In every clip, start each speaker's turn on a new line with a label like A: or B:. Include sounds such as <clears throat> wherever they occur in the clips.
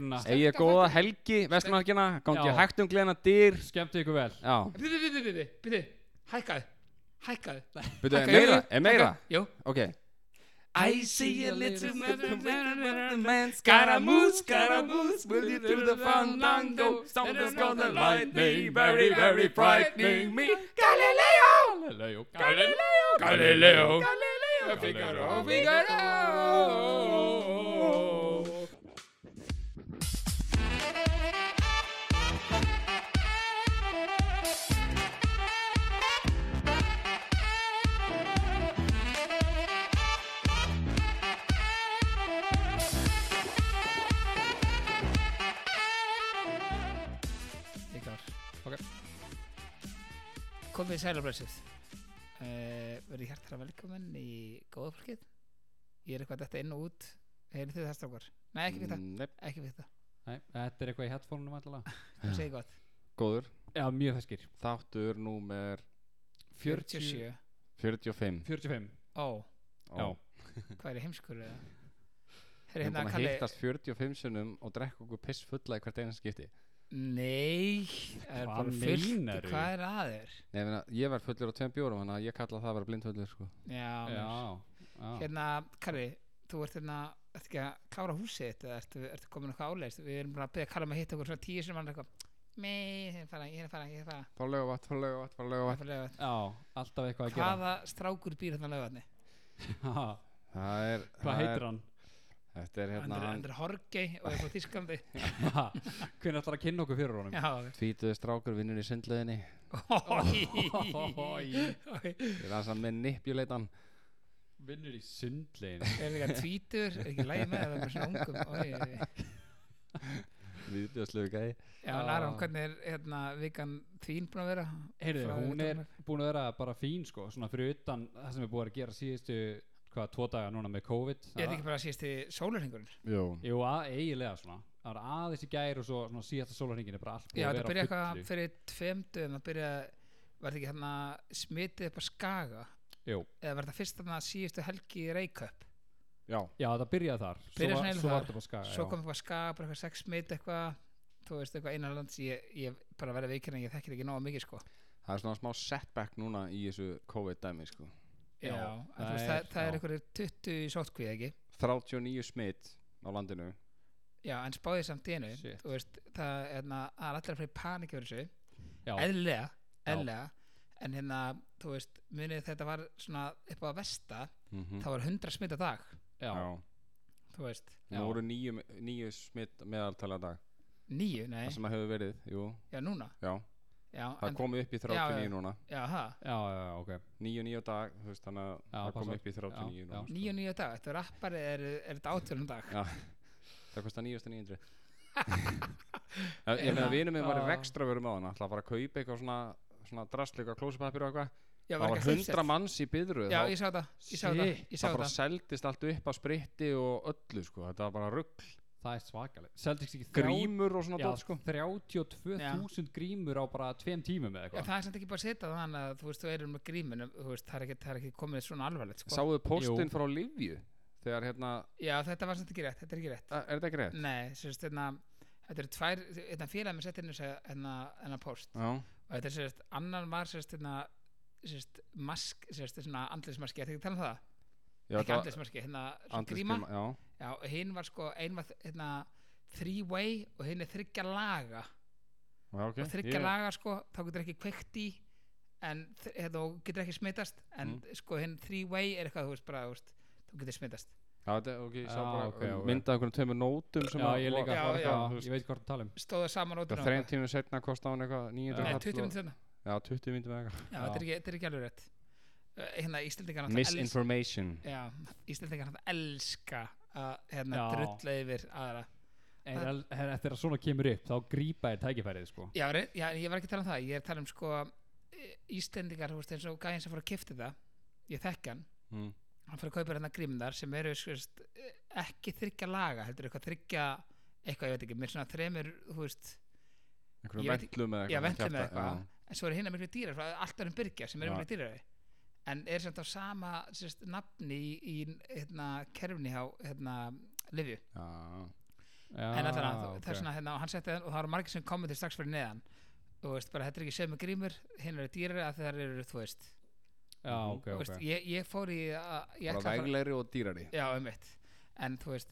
A: helgina
B: Egið góða helgi, vestmanarkina, gangi
A: Já.
B: hægt um gleðina dyr.
A: Skemmtu ykkur vel
B: Já,
C: Bíði, bíði, bíði, bíði Hækkaði Hækkaði Nei,
B: byrju, er
C: hækkaði.
B: meira,
C: Jú, jú,
B: er meira,
C: hækkaði. Jú
B: ok.
C: I see a little
B: man,
C: Scaramouche, Scaramouche, will you do the fandango? Something's gonna light me, very, very frightening me. Galileo!
A: Galileo
C: Galileo! Galileo! Galileo! Figaro! Figaro! Ykkar. Ok. Komið sælablessið. Uh, verið hjartara velkominn í góða fólkið. Ég er eitthvað þetta inn og út. Heyrið þið það strákar? Nei, ekki við það.
B: Nei,
C: Ekki við það.
A: Nei, þetta er eitthvað í headphoneum allavega
C: Það segir gott.
B: góður.
A: Já, mjög feskir
B: Þáttur númer
C: 47.
B: 45.
A: 45
C: Ó,
A: Já,
B: Ó,
C: hvað er heimskur eða?
B: Við erum
C: Heyrið hérna
B: búin
C: að
B: að
C: kalli...
B: hittast 45 sunnum og drekka okkur piss fulla í hvert einu skipti.
C: Nei, það er
A: Hvað
C: bara fullt.
A: meinaru?
C: Hvað er að þér?
B: Nei, ég meina, ég var fullur á tveim bjórum, þannig að ég kalla það að vera blindfullur, sko.
C: Já,
A: já, já.
C: Hérna, Karri, þú ert hérna ert ekki að klára húsið þitt eða ertu, ertu komin eitthvað áleist við erum bara að beða Karri um að hitta okkur svona tíu sem hann er eitthvað mei, ég er að fara, ég er að fara, ég er að fara,
B: Fara lögavat, fara lögavat, fara
C: ég er að
B: lögavat.
C: fara laugat.
A: já alltaf eitthvað að gera
C: hvaða strákur býr þarna laugatni
A: <laughs> Ha,
B: Það er...
A: Hvað heitir hann?
B: Þetta er
C: hann
B: hérna,
C: er,
B: hann
C: hann er Horgei og er frá
A: <laughs>
C: Þísklandi
A: Hvernig ætlar að kynna okkur fyrir honum?
C: <laughs> já,
A: <laughs>
B: tvítuði strákur vinnur í sundleðinni.
C: Oj.
B: Ég er aðeins að manipuleitan.
A: Vinnur í sundlegin
C: er líka tvítur, er ekki lægi með það er bara svona ungum Oj.
B: Viðbjöðslegu gæði.
C: já, Nára, hvernig er hérna vikan þín búin að vera
A: Heyrðu,
C: Frá-
A: hún er búin að vera bara fín sko Svona fyrir utan það sem er búið að gera síðustu Hvað, tvo daga núna með COVID
C: ég er ekki bara að síðast í sólarhingurinn
B: Jú.
A: Jú, að, eiginlega svona Það var aðeins í gær og svo svona, síðasta sólarhingin er bara allt búið
C: já,
A: að
C: þetta byrja
A: vera á
C: eitthvað
A: fullu.
C: fyrir tveim dögum það byrja, var þetta ekki hérna smitið upp að skaga
A: Jú,
C: eða var þetta fyrst þarna síðustu helgi í Reykjöp
B: Já.
A: já, það byrjaði þar
C: Byrjaði
A: Svo,
C: svona
A: var-
C: eiginlega
A: svo var
C: þar.
A: þetta bara skaga
C: svo
A: já.
C: kom eitthvað skaga, bara eitthvað sex smit eitthvað þú veist eitthvað innanlands ég, ég bara verið veikina, ég þekkir ekki nóga mikið sko
B: Það er svona smá setback núna í þessu COVID-dæmi, sko.
A: Já,
C: en þú
A: það
C: veist, það,
A: er-
C: það er
A: já.
C: eitthvað 20 í sótkvíð ekki
B: 39 smitt á landinu.
C: já, en spáðið samt í einu
A: Shit.
C: þú veist, það er, hérna, það er allir að fyrir panik yfir þessu,
A: Já,
C: eðlilega
A: Já.
C: eðlilega, en hérna þú veist, munið þetta var svona upp á að vesta,
B: Mm -hmm.
C: það var 100 smit á dag
A: já,
C: þú veist,
B: Nú
A: Já.
B: voru nýju, nýju smitt meðaltala dag.
C: nýju, nei
B: Það sem að hefur verið, jú.
C: já, núna,
B: Já.
C: já,
B: Það
C: en,
B: komið upp í
C: Já, já.
B: 39 núna.
C: já, það
A: já, já, já, ok
B: Nýju, nýju dag, þú veist, þannig að það
A: passa.
B: komið upp í 39
A: Já,
B: núna.
A: já.
B: sko.
C: nýju, nýju dag, þetta er rappari er, er þetta átjörnum dag
B: Já, það kostar 9.900 Ég meina vinur minn var í
A: Já.
B: rekstraverum á hana Það var að kaupa eitthvað svona, svona drastleika klósipapir og eitthvað
C: já,
B: Það var
C: eitthvað
B: 100
C: uppselt.
B: manns í byðru
C: já,
B: það,
C: ég sá það, ég sá það,
A: Shit,
C: ég sá
B: það bara
C: það
B: seldist allt upp á spritti og öllu sko. Þetta var bara rugg
A: Það er svakaleg Celtics ekki
B: Grímur og svona
A: Já,
B: dót sko.
A: 32.000 grímur á bara tveim tímum eða
C: Já,
A: eitthvað
C: það er samt ekki bara að setja þannig að þú veist, þú erum með gríminum, þú veist, það er ekki, það er ekki komið svona alvarlegt, sko.
B: Sáuðu
A: Jú.
B: póstinn frá Livju Þegar hérna,
C: Já, þetta var samt ekki rétt, þetta er ekki rétt.
B: a- er þetta ekki rétt?
C: Nei, sérst, hérna, þetta eru tvær, hérna félag með setja inn þess að, hérna, hérna post.
B: Já,
C: Og þetta er sérst, annan var sérst, hérna, sérst, mask, sérst, svona andlismaski, þetta ekki að tala um það?
B: já
C: ekki
B: þetta var-
C: andlismaski, hérna, svona
B: andlitsgríma,
C: gríma.
B: Já,
C: Já, og hinn var sko, einn var, hérna, three way og hinn er þryggja laga.
B: já ok
C: og þryggja
B: Ég-
C: laga sko, þá getur ekki kveikt í en þ- eh, þú getur ekki smitast en
B: Mm.
C: sko hinn three way er eitthvað þú veist bara, þú, veist, þú getur smitast
B: Já, þetta, ok, ég sá
A: Já,
B: bara
A: ok, ok.
B: myndað einhvern tveimur nótum sem
A: Já,
B: að-
A: ég líka
C: Já,
A: bara
C: já.
A: eitthvað, Ég veit hvort það tala um
C: stóða saman út
B: Það þreim tímum setna kosti hann eitthvað 900
C: Nei,
B: kall
C: 20
B: og-
C: minnum senna
B: Já, 20 myndum eða eitthvað
C: Já, þetta er, ekki, þetta er ekki alveg rétt Eh, hérna Íslendingar náttúrulega els-
B: Misinformation
C: Já, Íslendingar náttúrulega elska að hérna
A: Já.
C: drulla yfir aðra
A: En el- en eftir að svona kemur upp þá grípa er tækifærið sko
C: já, re- já, ég var ekki að tala um það, ég er að tala um sko eh, Íslendingar, þú veist, eins og gæðin sem fór að kifta það ég þekki hann
B: mm.
C: hann fyrir að kaupa hérna grímnar sem eru skvist, ekki þryggja laga heldur eitthvað þryggja eitthvað ég veit ekki, mér svona þremur þú veist,
B: Einhverjum
C: Ég veit-
B: vendlum eða eitthvað
C: ég ventli
B: kjafta-
C: með eitthvað
B: já.
C: en svo eru hérna miklu dýrar, frá alltaf um byrgja sem eru
B: Já.
C: miklu dýrari en er samt á sama sérst, nafni í, í hérna, kerfni á hérna, Livju
B: Já,
C: en alltaf
A: Ah, ok.
C: þess vegna hérna, og hann setti það og það eru margir sem komið til strax fyrir neðan og veist bara þetta er ekki sömu grímur hinn eru dýrari að það eru þú veist,
A: já, ok,
C: þú
A: ok
C: veist ég, ég fór í að- ég
B: bara
C: ætlaði að fara-
B: veglegri og dýrari
C: já um en þú veist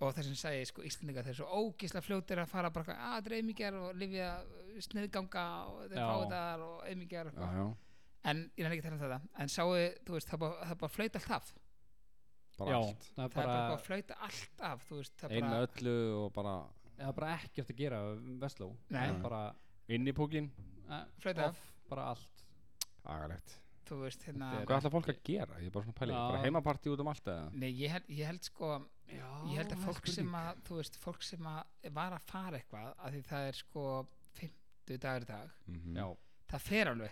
C: og þess vegna sagði ég sko Íslendinga þeir eru svo ógisla fljótir að fara bara "Ah, að dreymingjar og lifja sniðganga og þeir
A: Já.
C: fáðar og
B: já,
C: eimingjar
B: já.
C: en ég nefnir ekki að tala um þetta en sáu, þú veist, það er bara, það er bara flöyt allt af
B: bara
A: já,
B: allt
A: það er
C: það er bara búið
A: bara,
C: að flöyta allt af þú veist, það er
B: einn með
C: bara,
B: öllu og bara
A: það er bara ekkert að gera Vestló
C: Nei.
A: Það er bara
B: inn í púkin
A: eh,
C: Flauta
A: off, bara allt
B: agalegt
C: þú veist, hérna
A: Þetta er-
B: hvað ætla fólk að gera, ég er bara svona pæli
A: Já.
B: bara heimapartí út um allt eða
C: Nei, ég held, ég held sko
A: já,
C: ég held að fólk sem að, þú veist, fólk sem að var að fara eitthvað, að því það er sko 50 dagur í dag
B: Mhm.
A: já,
C: það fer alveg,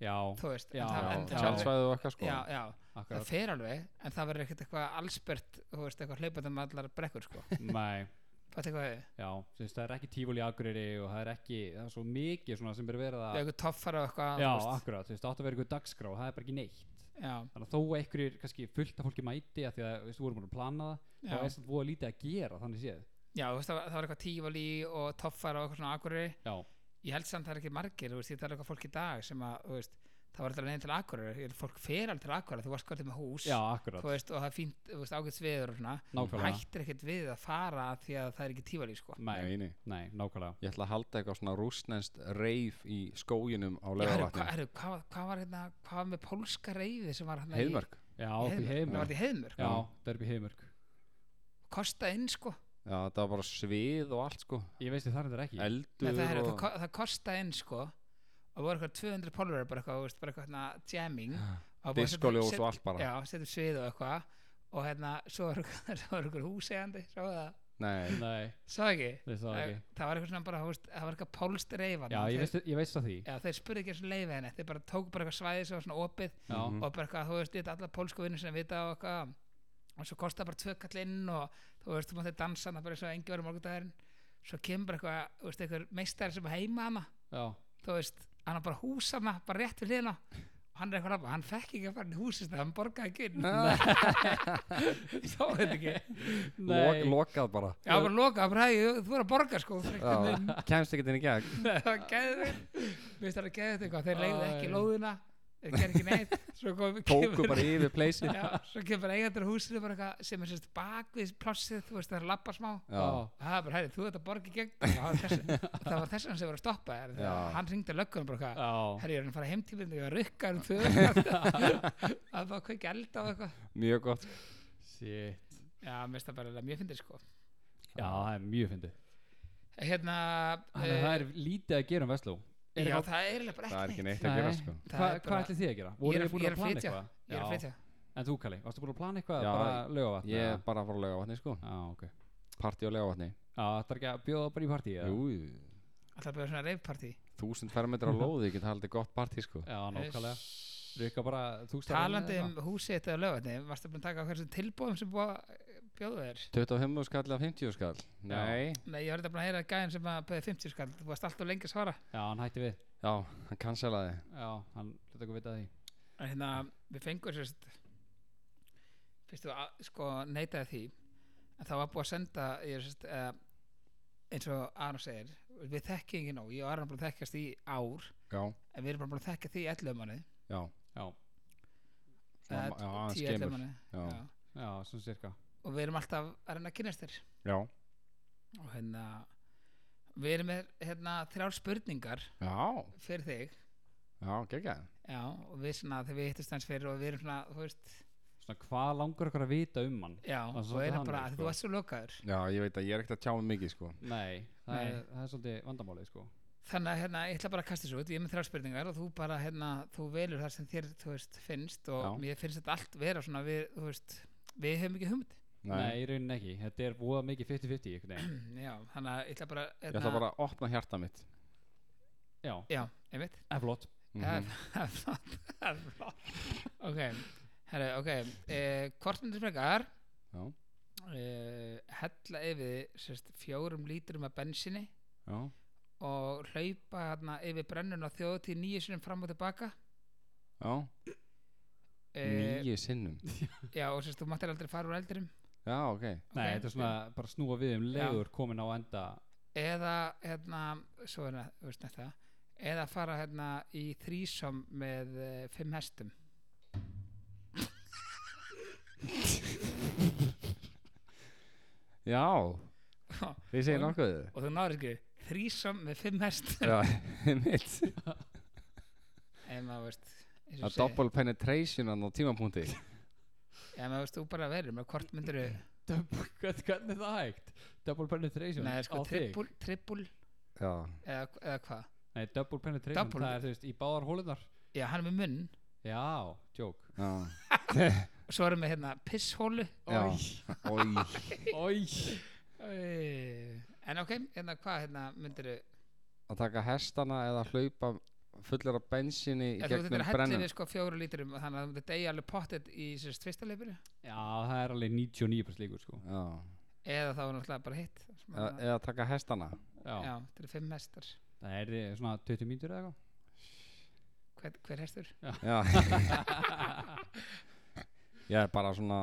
A: já,
C: þú veist
A: Já,
C: en það, en
B: já,
C: það, verður-
B: tjaldsvæðu og eitthvað sko
C: já, já, það
A: akkurat
C: fer alveg en það verður ekkert eitthvað allsbert þú veist, eitthvað hlaupandi um allar
A: <laughs>
C: brekkur sko.
A: nei,
C: Fattu hvað ég-
A: já, þú veist, það er ekki tífúli akureyri og það er ekki, það er svo mikið svona sem er verið
C: það er
A: að
C: eitthvað toffara og eitthvað
A: já,
C: þú veist.
A: akkurat, þú veist, það átt að vera ykkur dagskrá og það er bara ekki neitt
C: já,
A: þannig að þó einhverjir, kannski fullt af fólki mæti að því að, þú veist, vorum búin að plana það þá
C: já.
A: er samt voða lítið að gera, þannig séð
C: já þú veist, það, var- það var eitthvað tífali og toffara og eitthvað svona akurri
A: já,
C: ég held samt að það er ekki margir þú veist, ég tala um eitthvað fólk í dag sem að, þú veist, það var alltaf neginn til akurri fólk fer alltaf til akurri, þú varst hvað með hús
A: já,
C: þú
A: akkurat,
C: veist, og það er fínt, þú veist, ágætt sveður og svona,
A: nákvæmlega
C: hættir ekkert við að fara af því að það er ekki tífali, sko
A: nei,
B: Nei, nei.
A: nei, nákvæmlega
B: ég ætla að halda eitthvað svona rúsnenskt reif í skóginum á
C: Já, herru,
B: leðavatni
C: hvað, herru, hvað, var- hvað var hérna, hvað var með pólska reyði sem var hérna í-
B: heiðmörk
A: já,
C: í
A: upp í heimur
C: Heiðmörk? Það var þetta í heimur,
A: já, það er upp í heimur
C: kostaði inn, sko
B: já, það var bara svið og allt sko
A: ég veist það er þetta ekki
B: eldur
C: Nei, það, herru,
B: og
C: það, ko- það kostaði inn, sko og voru eitthvað 200 pólver bara eitthvað, þú veist, bara eitthvað hérna jamming og búið að setja-
B: diskoljós
C: set-
B: og allt bara
C: Já, setjum svið og eitthvað og hérna, svo var <laughs> svo var eitthvað húsegandi, svo það
B: nei,
A: nei,
C: svo ekki
A: veist það
C: það
A: ekki
C: það var eitthvað svona bara, þú veist, það var eitthvað pólst reyfan
A: já, ég veist, ég veist það því
C: Já, þeir spurði ekki eins og leiði henni, þeir bara tók bara eitthvað svæði sem var svona opið
A: já,
B: Mhm.
C: og bara eitthvað, þú veist, þetta alla pólsku vinnur sem vita og eitthvað og svo kostaði bara tvö kall inn og þú veist, þú mátti dansa hana bara eins og engi verið morgundagurinn svo kemur bara eitthvað, þú veist, einhver meistari sem er heima hana,
A: já,
C: þú veist hann á bara hús hana, bara rétt við hliðina og hann er eitthvað rappa, hann fekk ekki að fara inn í húsist hann borgaði ekki inn <laughs> þá er þetta ekki
B: Lok,
A: nei
B: lokað bara
C: Já, bara loka, bara, hey, þú er að borga sko
B: Já,
C: það
B: kemst ekki inn í gegn
C: var geðveikt Mér finnst það að geðveikt eitthvað, þeir leiði ekki
A: Æ.
C: lóðina þeir gerði ekki neitt svo kom,
B: <laughs> tóku
C: kemur-
B: bara yfir pleysin já,
C: Já, svo kemur eigandur húsinu bara eitthvað sem er sérst bak við plássið, þú veist, það er að labba smá og
A: já,
C: það er bara, herri, þú ert að borga í gegn og það var þess-
B: <laughs>
C: og það var þess að hann sem var að stoppa þér
B: Já.
C: þegar hann ringdi löggunum bara eitthvað
A: já,
C: herri, ég er hann að fara heimtíminn og ég var að rukka um tvö <laughs> það var kveik eld á eitthvað
B: mjög gott
A: shit
C: já, mér finnst það bara eiginlega mjög fyndið sko
A: já, það er mjög fyndið
C: hérna,
A: þannig að það
B: Eh.
A: er lítið að gera um Vestló
C: já,
A: er eitthvað-
C: það er eiginlega bara
B: það er
C: ekki
B: ekki
C: neitt
B: neitt að
A: Nei.
B: gera sko
C: Það
A: Hva-
C: er
A: hvað
C: bara-
A: ætlið þið að gera?
C: Ég
A: Voru
C: er-
A: þið búin
C: ég er
A: að
C: að
A: plana
C: flytja.
A: eitthvað?
C: ég er að
A: Já.
C: flytja
A: En þú Kalli, varstu búin að plana eitthvað
B: Já,
A: já, bara lögavatn?
B: ég er bara að fara að lega sko
A: Já, ok
B: partí á lega vatni
A: Já, það er ekki að bjóða bara í partí eða?
B: jú,
C: alltaf bara svona reyfpartí
B: þúsund fermetra <laughs> á lóði ég get haldið gott partí sko
A: Já, nákvæmlega Rukka bara þú staðar
C: Eh, talandi
A: inn
C: um húsið þetta á lögatni varstu búin að taka á hversu tilbúðum sem búið að bjóða þér
B: 25 skall af 50 skall nei,
C: Nei, ég var þetta bara að heyra að gæðin sem að beði 50 skall, þú varst alltaf lengi að svara
A: Já, hann hætti við
B: já, hann cancelaði
A: Já, hann hluta okkur vita því
C: en hérna, við fengum sérst fyrst þú að- sko neitaði því en það var búið að senda ég, sérst, uh, eins og Aron segir við þekkjum ekki nóg, ég og Aron búin að þekkjast í ár
B: já,
C: en við erum bara búin að þekkja því í 11 manni
B: já,
A: Já,
B: Svona
C: Eh,
B: ma- já, aðeins skemur.
C: manni
B: já,
C: já.
A: já, svona cirka
C: og við erum alltaf að reyna að kynast þér
B: já,
C: og hérna við erum með hérna, þrjár spurningar
B: já,
C: fyrir þig
B: já, geggjað
C: já, og við svona, þegar við hittist hans fyrir og við erum svona, þú veist
A: Svona, hvað langar okkur að vita um hann?
C: Já,
A: Það er
C: og
A: svolítið
C: er
A: þannig,
C: það bara að
A: sko.
C: þú varst svo lokaður
B: já, ég veit að ég er ekkert að tjá mig mikið sko
A: Nei, það,
C: Nei.
A: Er, það er svolítið vandamálið, sko
C: Þannig að hérna, ég ætla bara að kasta þessu út Ég er með þrjá spurningar og þú bara hérna, þú velur það sem þér, þú veist, finnst og
B: Já.
C: mér finnst þetta allt vera svona við, þú veist, við höfum ekki humd
A: Nei, í rauninni ekki Þetta er voða mikið 50-50 einhvern veginn.
C: Já, þannig að ég ætla bara, hérna,
B: ég ætla bara að opna hjarta mitt
A: Já,
C: Já, einmitt
A: en flott
B: Mhm.
C: Það er flott, það er flott Ok, herri, ok eh, Hvort myndir frekar
B: já,
C: eh, hella yfir sérst, fjórum lítrum af bensinni
B: já,
C: og hlaupa hérna yfir brennun á þjóðutíð nýju sinum fram og tilbaka
B: já,
C: Eh,
B: nýju sinnum
C: E,
B: Eh,
C: Já, og sérst, þú máttir aldrei fara úr eldinum
B: já, ok
A: Nei,
C: Ok,
A: þetta er svona bara snúa við um leiður komin á enda
C: eða hérna, svo er það, þú veist þetta eða fara hérna í þrísom með uh, fimm hestum
B: já, þið segir
C: Og- <laughs>
B: nokkuð
C: og þú náður ekki þrísom með fimm
B: <laughs>
C: hestum
B: já, mitt
C: eða maður veist eins og
B: að
C: ég segi,
B: double penetration á tímapunkti
C: eða maður veist þú bara verður með hvort myndir
A: <laughs> Hvernig hvernig er það hægt? Double penetration
C: neða sko
A: á þig?
C: trippul, trippul
B: já,
C: eða, eða hvað
A: Nei, double penetration,
C: Double-
A: það er þú veist í báðar hólunar
C: já hann er með munn
A: Já, djók
B: já,
C: og svo erum við hérna pisshólu
B: já Oj.
A: Ói
C: Æ, en ok, hérna hvað hérna myndir
B: að taka hestana eða hlaupa fullir af bensinni í
C: eða þú
B: gegnum
C: myndir að hella
B: brennum
C: við sko fjóru lítrum þannig að þú myndir degja alveg pottet í sérst fyrsta leifinu
A: Já, það er alveg 99% líkur sko
B: já,
C: eða þá er náttúrulega bara hitt sem
B: eða,
C: að-
B: eða taka hestana
C: <laughs>
A: Já,
C: já, þetta eru fimm hestar
A: það er eh, svona 20 mínútur eða
C: hver, hver hestur? <laughs>
B: já ég er bara svona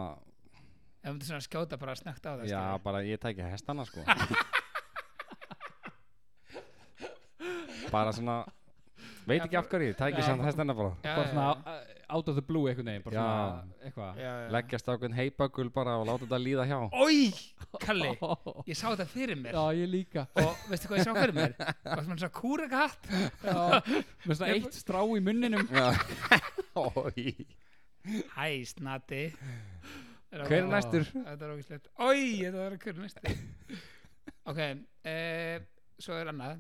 C: ef þú myndir svona skjóta bara snögt á það
B: já,
C: skilurðu.
B: bara ég tæki hestana
C: <laughs>
B: sko bara svona veit
C: Já,
B: ekki af hverju, tæki
C: Já.
B: samt hestana bara
C: já,
A: Bara
C: já,
A: svona
C: já.
A: eh, out of the blue einhvern veginn Bara
B: Já.
A: svona eitthvað
C: já, já.
B: leggjast á hvern heipökul bara og láta þetta líða hjá
C: Ói, Kalli,
A: Ó,
C: ég sá þetta fyrir mér
A: <laughs> Já, ég líka
C: og veistu hvað ég sá fyrir mér? Það var svona kúra katt
A: Já, með svona eitt strá í munninum
B: Já. Oj.
C: Hæ, snati
B: hver er næstur?
C: Þetta er ógislegt Ói, þetta var hver er næstur Ok, e, svo er annað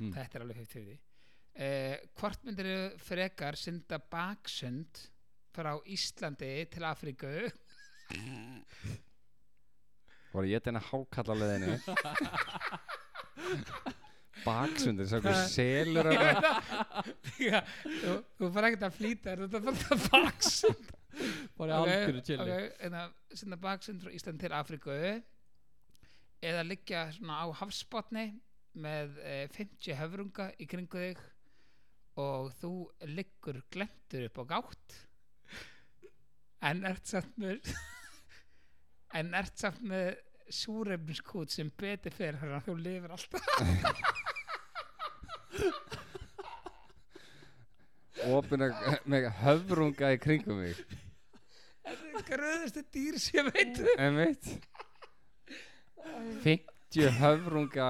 B: Mm.
C: Þetta er alveg heitt fyrir því e, Hvort myndir frekar synda baksund frá Íslandi til Afríku
B: voru ég þetta hákall á leðinu baksundir, svo einhver selur að
C: Já, þú, þú fara ekkert að flýta þér, þetta er bara baksund
A: Bara í algjöru chili
C: okay, eða senda baksund hérna, frá Ísland til Afríku eða liggja svona á hafsbotni með eh, 50 höfrunga í kringu þig og þú liggur glendur upp á gátt en ert samt með <laughs> en ert samt með súrefniskút sem betur fyrir þannig að þú lifir alltaf
B: opina með höfrunga í kringum mig
C: þetta er gröðustu dýr sem ég veit um.
B: en veit 50 höfrunga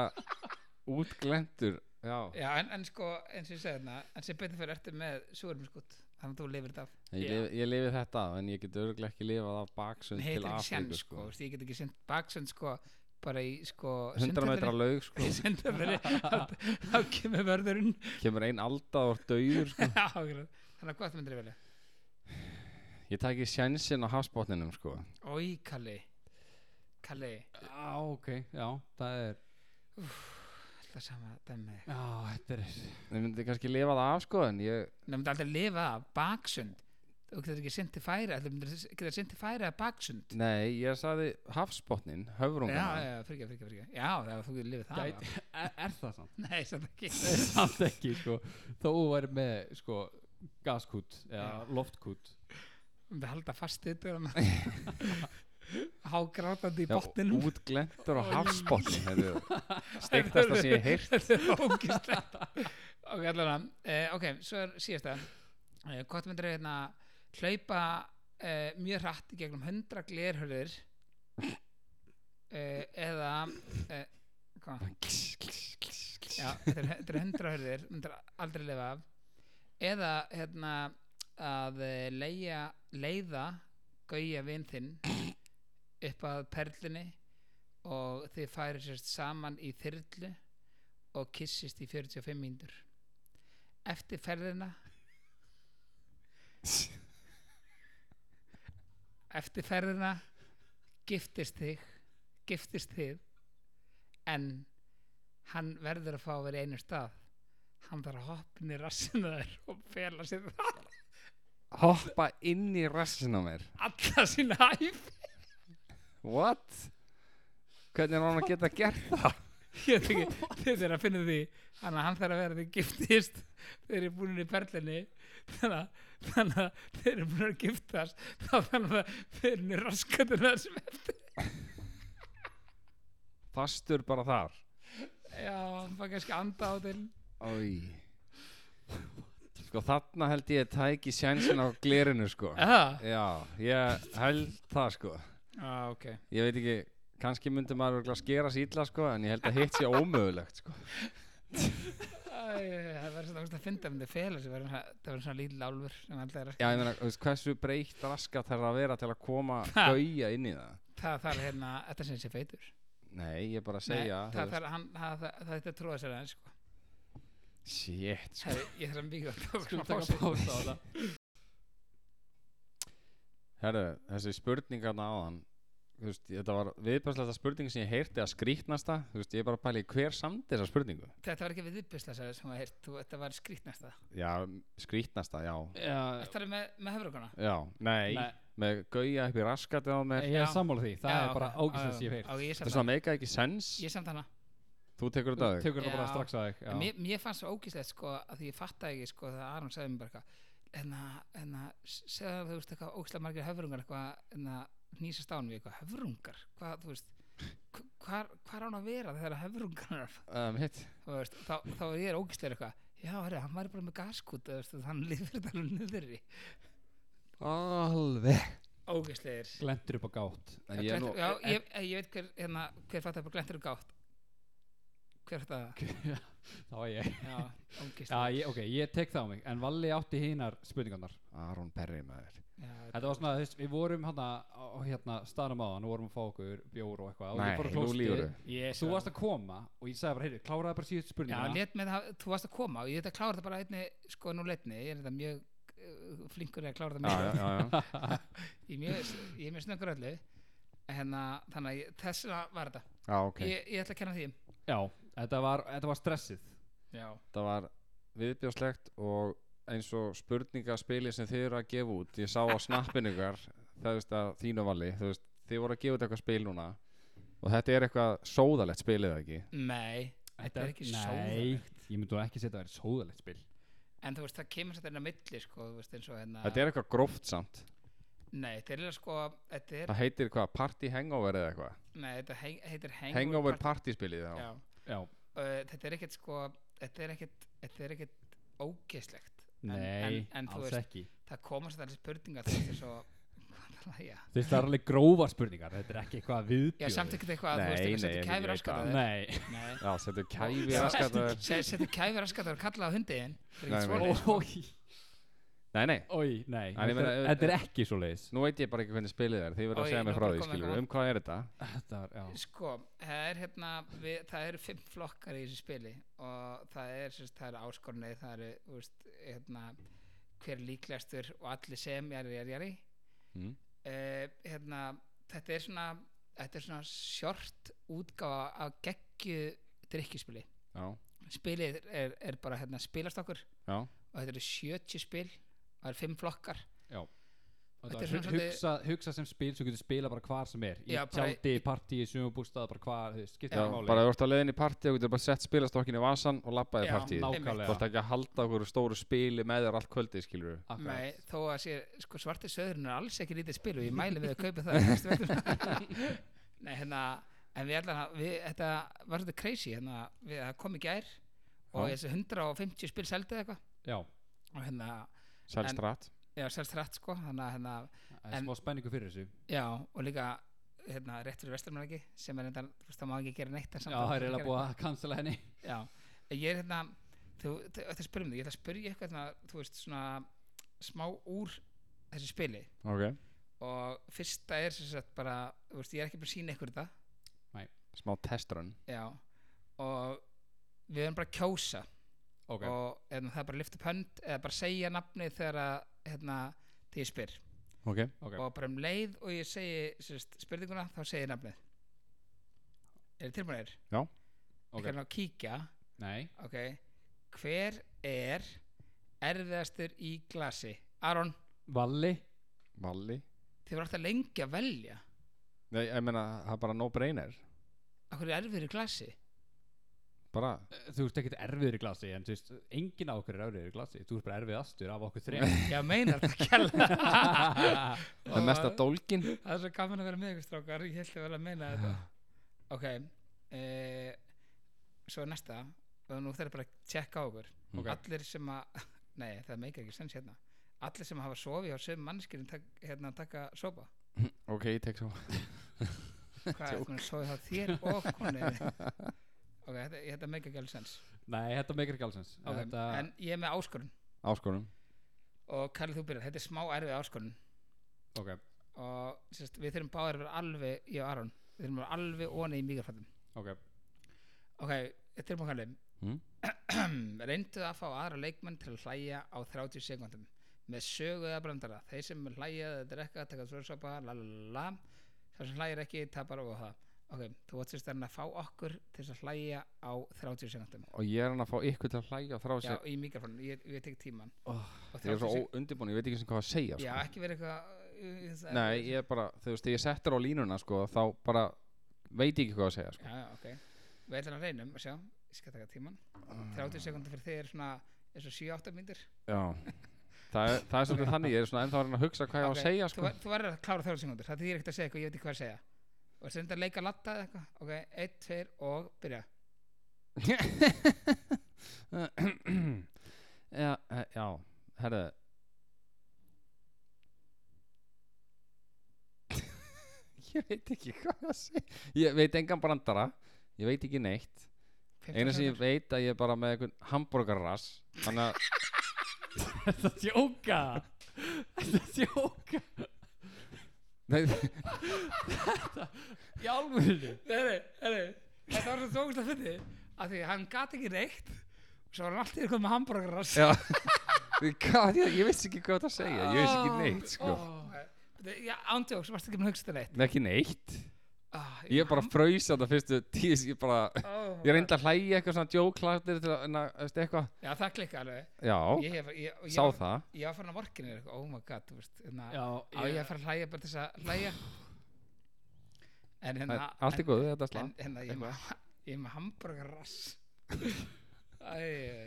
B: útglendur já,
C: Já, en, en sko, eins og ég segi þarna en sem betur fyrir ertu með súrumskut þannig að þú lifir þetta af
B: ég, lif, ég lifi þetta af, en ég get örgulega ekki lifað af baksund
C: heitir
B: til
C: ekki
B: Afríku
C: sjans sko,
B: sko.
C: veist, ég get ekki sendt baksönd sko, bara í sko
B: 100 metra laug
C: <laughs>
B: sko,
C: sundhöllinni þá kemur
B: <laughs>
C: vörðurinn
B: kemur ein alda og er dauður sko.
C: Já, akkurat. þannig að hvað myndir ég velja
B: ég tæki sjansinn á hafsbotninum sko.
C: Ói, Kalli Kalli,
A: Já, ok, já, það er
C: alltaf sama dæmi
A: Já, þetta er
B: ég myndi kannski lifa það af sko, en ég,
C: Nei, myndi aldrei lifa af baksönd þú getur ekki sendt til færa þú myndir getur sendt til færa af baksönd
B: nei, ég sagði hafsbotnin,
C: Já,
B: höfrunga
C: já, fyrir ekki, fyrir ekki Já, það þú getur lifið það
A: Gæti,
C: af.
A: er, e, er það
C: <laughs>
A: samt?
C: Nei, samt ekki
A: samt ekki, sko Þó þú væri með, sko, gaskút eða
C: Já.
A: loftkút
C: Við halda fast yfir hann
B: <laughs>
C: Hágrátandi í botninum
B: útglendur á
C: Oj.
B: hafsbotnin
C: <laughs>
B: þetta er steiktasta sem ég heilt
C: Þetta er ógislegt Ok, allan eh, Ok, svo er síðasta eh, Hvort myndir við hérna hlaupa eh, mjög hratt í gegnum 100 glerhörður eh, eða eh, hvað? Já, þetta er- þetta er 100 hörður myndir aldrei lifa af eða hérna að eh, leigja, leiða gauja vin þinn upp að perlunni og þið færir sérst saman í þyrlu og kissist í 45 mínútur eftir ferðina eftir ferðina giftist þig giftist þig en hann verður að fá að vera í einu stað hann þarf að hoppa inn í rassinu þær og fela sér það
B: hoppa inn í rassin á mér
C: alla sína hæf
B: what? hvernig er hann að geta gert það
C: ég veit ekki, þið er að finna því þannig að hann þarf að vera því giftist þeir eru búin í perlinni þannig að, þannig að þeir eru búin að giftast þá þannig að þeir eru raskatur það sem
B: fastur bara þar
C: já, hann fá kannski anda á til
B: Ói. sko þarna held ég að tæki sjansin á glerinu sko
C: já,
B: já, ég held það sko
C: ah, ok
B: ég veit ekki, kannski myndi maður örugglega skera sér illa sko, en ég held að hitt sé ómögulegt sko
C: Æ, það verður svona að finna um þið fel það verður svona lítil álfur sem alltaf er
B: já, ég meina, þú veist, hversu breytt raskat þarf að vera til að koma
C: Ha.
B: gauja inn í það
C: það þarf hérna, þetta sem sé feitur
B: nei, ég er bara að segja
C: Nei, það, það, hann, það, það, það þetta tróða sér aðeins sko.
B: shit, sko.
C: Herri, ég þarf að mikið að taka
A: Skulum
C: svona
A: taka
C: pásu.
A: pása á það
B: herru, þessi spurningarna á hann þú veist, þetta var viðbærslega spurning sem ég heyrti að skrýtnasta þú veist, ég er bara að pæli hver samt þessa spurningu
C: þetta var ekki við uppbysla sem var heyrt þú- þetta var skrýtnasta
B: já, skrýtnasta, já
A: Já,
C: þetta er með, með höfrugana
B: já, nei,
A: Nei.
B: með gauja upp í raskatið á mér
A: ég
C: Já.
A: er sammála því, það er bara ágæslega sem ég hef heyrt
B: þetta
C: ég samt
B: er svona
C: hana,
B: meika ekki sens
C: ég samt hana.
B: þú tekur þetta á þig
A: Tökur það bara
C: Já.
A: strax að þig
C: En
A: já.
C: Mér, mér fannst svo ógíslegt sko að því ég fattaði ekki sko þegar Aron sagði mér bara eitthvað hérna, hérna, segða þú veist eitthvað ógíslega margir höfrungar eitthvað hérna, nýsast á hann við eitthvað höfrungar hvað, þú veist hv- hvar, hvar á hann að vera þegar höfrungar er
B: um, hitt,
C: þú veist, þá, þá er ég ógíslega eitthvað já, herri, hann væri bara með gaskút þú veist, hann lifir þetta alveg niðri
B: alveg
C: ógíslegir
A: Glendur upp á gátt
B: en ég er nú
C: já, ég, ég, ég veit hver, hérna, hver fattar bara glentur og gátt hver fattar það
A: Þá er ég
C: já,
A: Já,
C: ógíslega
A: ég, ok, ég tek það á mig En Valli átti hinar spurningarnar
B: Aron Perri með þér
A: Þetta var svona, þú veist, við vorum hann á hérna staðnum áðan og vorum að fá okkur bjór og eitthvað og
B: Nei,
A: ég fór á
B: nú
A: klósettið.
B: lýgurðu.
C: Yes,
A: Þú varst að koma og ég sagði bara, heyrðu, kláraði bara síðust
C: Já,
A: spurninguna
C: lét með það, þú varst að koma og ég þetta klára þetta bara einni, sko nú letni ég er þetta mjög uh, flinkur í að klára þetta
B: já,
C: mjög
B: já, já,
C: <laughs>
B: já.
C: Ég, er mjög, ég er mjög snöggur öllu hérna, þannig að ég- þess vegna var þetta
B: já ok,
C: ég, ég ætla að kenna því
A: Já, þetta var, þetta var stressið
C: Já,
B: það var viðbjörslegt og eins og spurningaspili sem þið eru að gefa út ég sá á snappinu ykkar það veist að þínu vali þú veist, þið voru að gefa út eitthvað spil núna og þetta er eitthvað sóðalegt spilið ekki
C: nei, þetta er ekki
A: Nei,
C: sóðalegt
A: ég myndi nú ekki setja að það er sóðalegt spil
C: en þú veist, það kemur þetta inn á milli sko, þú veist, eins og hérna
B: þetta er eitthvað gróft samt
C: Nei, þetta er eiginlega, sko, þetta er
B: það heitir eitthvað party hangover eða eitthvað
C: Nei, þetta heng, heitir Hangover,
B: hangover
C: Party.
B: party spilið já.
C: Já,
A: Já,
C: uh, þetta er ekkert sko þetta er ekkert, þetta er ekkert ógeðslegt En-
A: nei,
C: en- en þú
A: alls
C: veist-
A: ekki
C: það komast allir spurningar þú veist, eins og hvað er það, já
A: Þú veist, það er alveg grófar spurningar, þetta er ekki eitthvað viðbjóð
C: Já, samt ekkert eitthvað að þú
B: Nei,
C: veist eitthvað
B: nei,
C: setja
B: ég- ég
C: kæfi
B: veit það.
C: raskataður
A: Nei,
B: já, settu kæfi raskataður.
C: Setja kæfi raskataður kalla á hundiðin
B: Nei, nei.
A: ói,
B: nei, nei,
A: ói, nei
B: En ég
A: Þetta
B: meina,
A: er- þetta er ekki svo leiðis
B: nú veit ég bara ekki hvernig spilið er þið verður að
C: Oj,
B: segja
C: nú
B: mig frá
C: er
B: því
C: komið
B: skilur
C: eitthvað.
B: um hvað er þetta
A: Þetta var, já
C: Sko, það er hérna við, það eru fimm flokkar í þessu spili og það er, sérst, það eru áskornið það eru, þú veist, hérna hver er líklegastur og allir sem jari, jari, jari
B: Mm.
C: uh, hérna, þetta er svona þetta er svona sjort útgáfa af geggju drikkjuspili
B: já,
C: spilið er, er bara hérna spilast okkur
B: já,
C: og þetta eru 70 spil og það eru fimm flokkar
A: Þetta
C: Þetta er
A: var
C: svona
A: hu-
C: svolítið-
A: hugsa, hugsa sem spil sem getur spila bara hvar sem er Í
C: Já, bara í-
A: tjaldi, partíi, sumabústað, bara hvar, þú veist, skiptir
B: já
A: ekki máli
B: bara þú ert að leiðin í party og getur bara sett spilastokkin í vasan og labbaði
C: Já,
B: partíð Þú ert
C: nákvæmlega.
A: Nákvæmlega
B: ekki að halda okkur stóru spili með þér allt kvöldi, skilur við.
A: Akkurat.
C: Nei, þó að sé, sko, svarti söðurinn er alls ekki lítið spil og ég mæli við að kaupa það næstu
A: <laughs>
C: vetur. Nei, hérna, en við allan að- við, þetta var svolítið crazy hérna, við, það kom í gær og
B: Já.
C: þessi 150 spil seldi eða eitthvað
A: Já,
C: og hérna, En-
B: Selstrat.
C: já, selst rætt sko þannig að hérna,
A: það er
C: En-
A: smá spenningu fyrir þessu
C: já, og líka hérna, rétt fyrir vestur ekki, sem er hérna, þú veist, það má ekki gera neitt en samt
A: Já,
C: að-
A: það er eiginlega búið að cancela henni
C: Já, en ég er hérna þú, þú- þetta spurðum þig, ég ætla að spurja eitthvað hérna, þú veist, svona smá úr þessu spili
B: Ok.
C: og fyrsta er sem sagt bara þú veist, ég er ekki bara að sína ykkur þetta
B: Smá testrun.
C: já, og við erum bara að kjósa
A: Ok,
C: og hérna, það er bara að lyfta upp hönd eða bara segja nafnið þegar að hérna, þegar ég spyr
B: Ok.
A: ok,
C: og bara um leið og ég segi sem sagt, spurninguna þá segi ég nafnið er þið tilbúinir?
A: ok
C: ég kann að kíkja
A: Nei,
C: ok, hver er erfiðastur í glasi Aron,
A: Valli
B: Valli.
C: þið var alltaf lengi að velja
B: Nei, ég meina, það er bara no brainer.
C: okkur er erfiður í glasi
B: bara
A: þú veist ekkert erfiður í glasi en þú veist, engin á okkur er erfiður í glasi þú veist bara erfið astur af okkur
C: <laughs>
A: þrejum
C: Já, meinar það kjalla
A: <laughs>
C: <laughs> Eh,
B: það er mesta dólkin
C: Það er svo gaman að vera með ykkur strákar Ég held að vera að meina þetta Ok e, Svo er næsta og nú þarf bara að tjekka á okkur
B: Ok.
C: Allir sem að <laughs> Nei, það meikar ekki sens hérna Allir sem hafa sofið á söm mannskirinn tak, hérna að taka
B: <laughs>
C: sopa
B: ok, ég tek svo
C: Hvað er það að sofið á þér og
B: <laughs>
C: konu Ok, þetta, þetta meikar ekki alveg sens
A: nei, þetta meikir ekki alls sens.
C: Ok,
A: þetta,
C: En ég er með áskorun
B: áskonum
C: og Karl þú byrjar, þetta er smá erfið áskorun
A: ok,
C: og sérst, við þurfum báðir að vera alveg ég og Aron, við þurfum að vera alveg óni í mikrofættum
A: ok
C: ok, þetta er búin Karli
B: Mm.
C: <clears throat> reyndu að fá aðra leikmenn til að hlæja á 30 sekundum með sögu eða brandara, þeir sem hlæja eða drekka, taka svörsopa, la la la la þar sem hlæjar ekki, tapar og það ok, þú átt sérst að fá okkur til þess að hlæja á 30 sekundum
B: og ég er hann að fá ykkur til að hlæja og þrá
C: já,
B: sér
C: í mikrofónum, ég, ég tek tíman
B: oh,
C: Og
B: ég er
C: 30
B: svo
C: sek-
B: undirbúin, ég veit ekki sem hvað að segja
C: já,
B: sko.
C: ekki verið eitthvað uh,
B: nei, ég er bara, þú veist, þegar ég settir á línuna sko, þá bara veit ég ekki hvað að segja sko.
C: uh, já, já, ok við ætlum að reynum að sjá, ég skal taka tíman
B: Ah.
C: 30 sekundir fyrir þig er svona eins og 7-8 myndir
B: já Það er, það er svolítið þannig, ég er svona ennþá að reyna að hugsa hvað ég á að segja
C: þú,
B: sko.
C: ver- þú verður að klára 30 sekundir það þýðir ekkert að segja eitthvað, ég veit ekki hvað að segja og þess að leika latta eða eitthvað ok, 1, 2 og byrja
B: já, eh, já, herðu <laughs> Ég veit ekki hvað að segja Ég veit engan brandara Ég veit ekki neitt
C: 15
B: Einu sem ég
C: sekúndur.
B: veit að ég er bara með einhvern hamburgarrass Þannig að
A: <laughs> þetta sjóka þetta sjóka
B: Nei,
A: í alvöru
C: Nei, nei, nei, nei. þetta var svo tókist að finni að því að hann gat ekki neitt og svo var hann alltaf eitthvað með hambúrgarrass
B: Já <laughs> Hvað, ég, ég veist ekki hvað það að segja Ég veist ekki neitt sko
C: já, ándjóks, varst ekki með að hugsa þetta neitt
B: Nei, Ekki neitt
C: ah,
B: Ég bara fröys á þetta fyrstu tíð Ég bara
C: oh,
B: Ég reyndi að hlæja eitthvað svona djókláttir til að, na, veist eitthvað
C: já, það klikka alveg
B: Já,
C: ég, hef, ég, ég,
B: sá
C: var-
B: það
C: ég var farin að vorkinni oh my god, þú veist hérna,
A: já,
C: á ég að fara að hlæja bara til þess að hlæja en
B: En,
C: hérna
B: allt er
C: en-
B: góð, þetta er
C: en,
B: slag
C: hérna ég er með- ég er með hambúrgarrass Æ,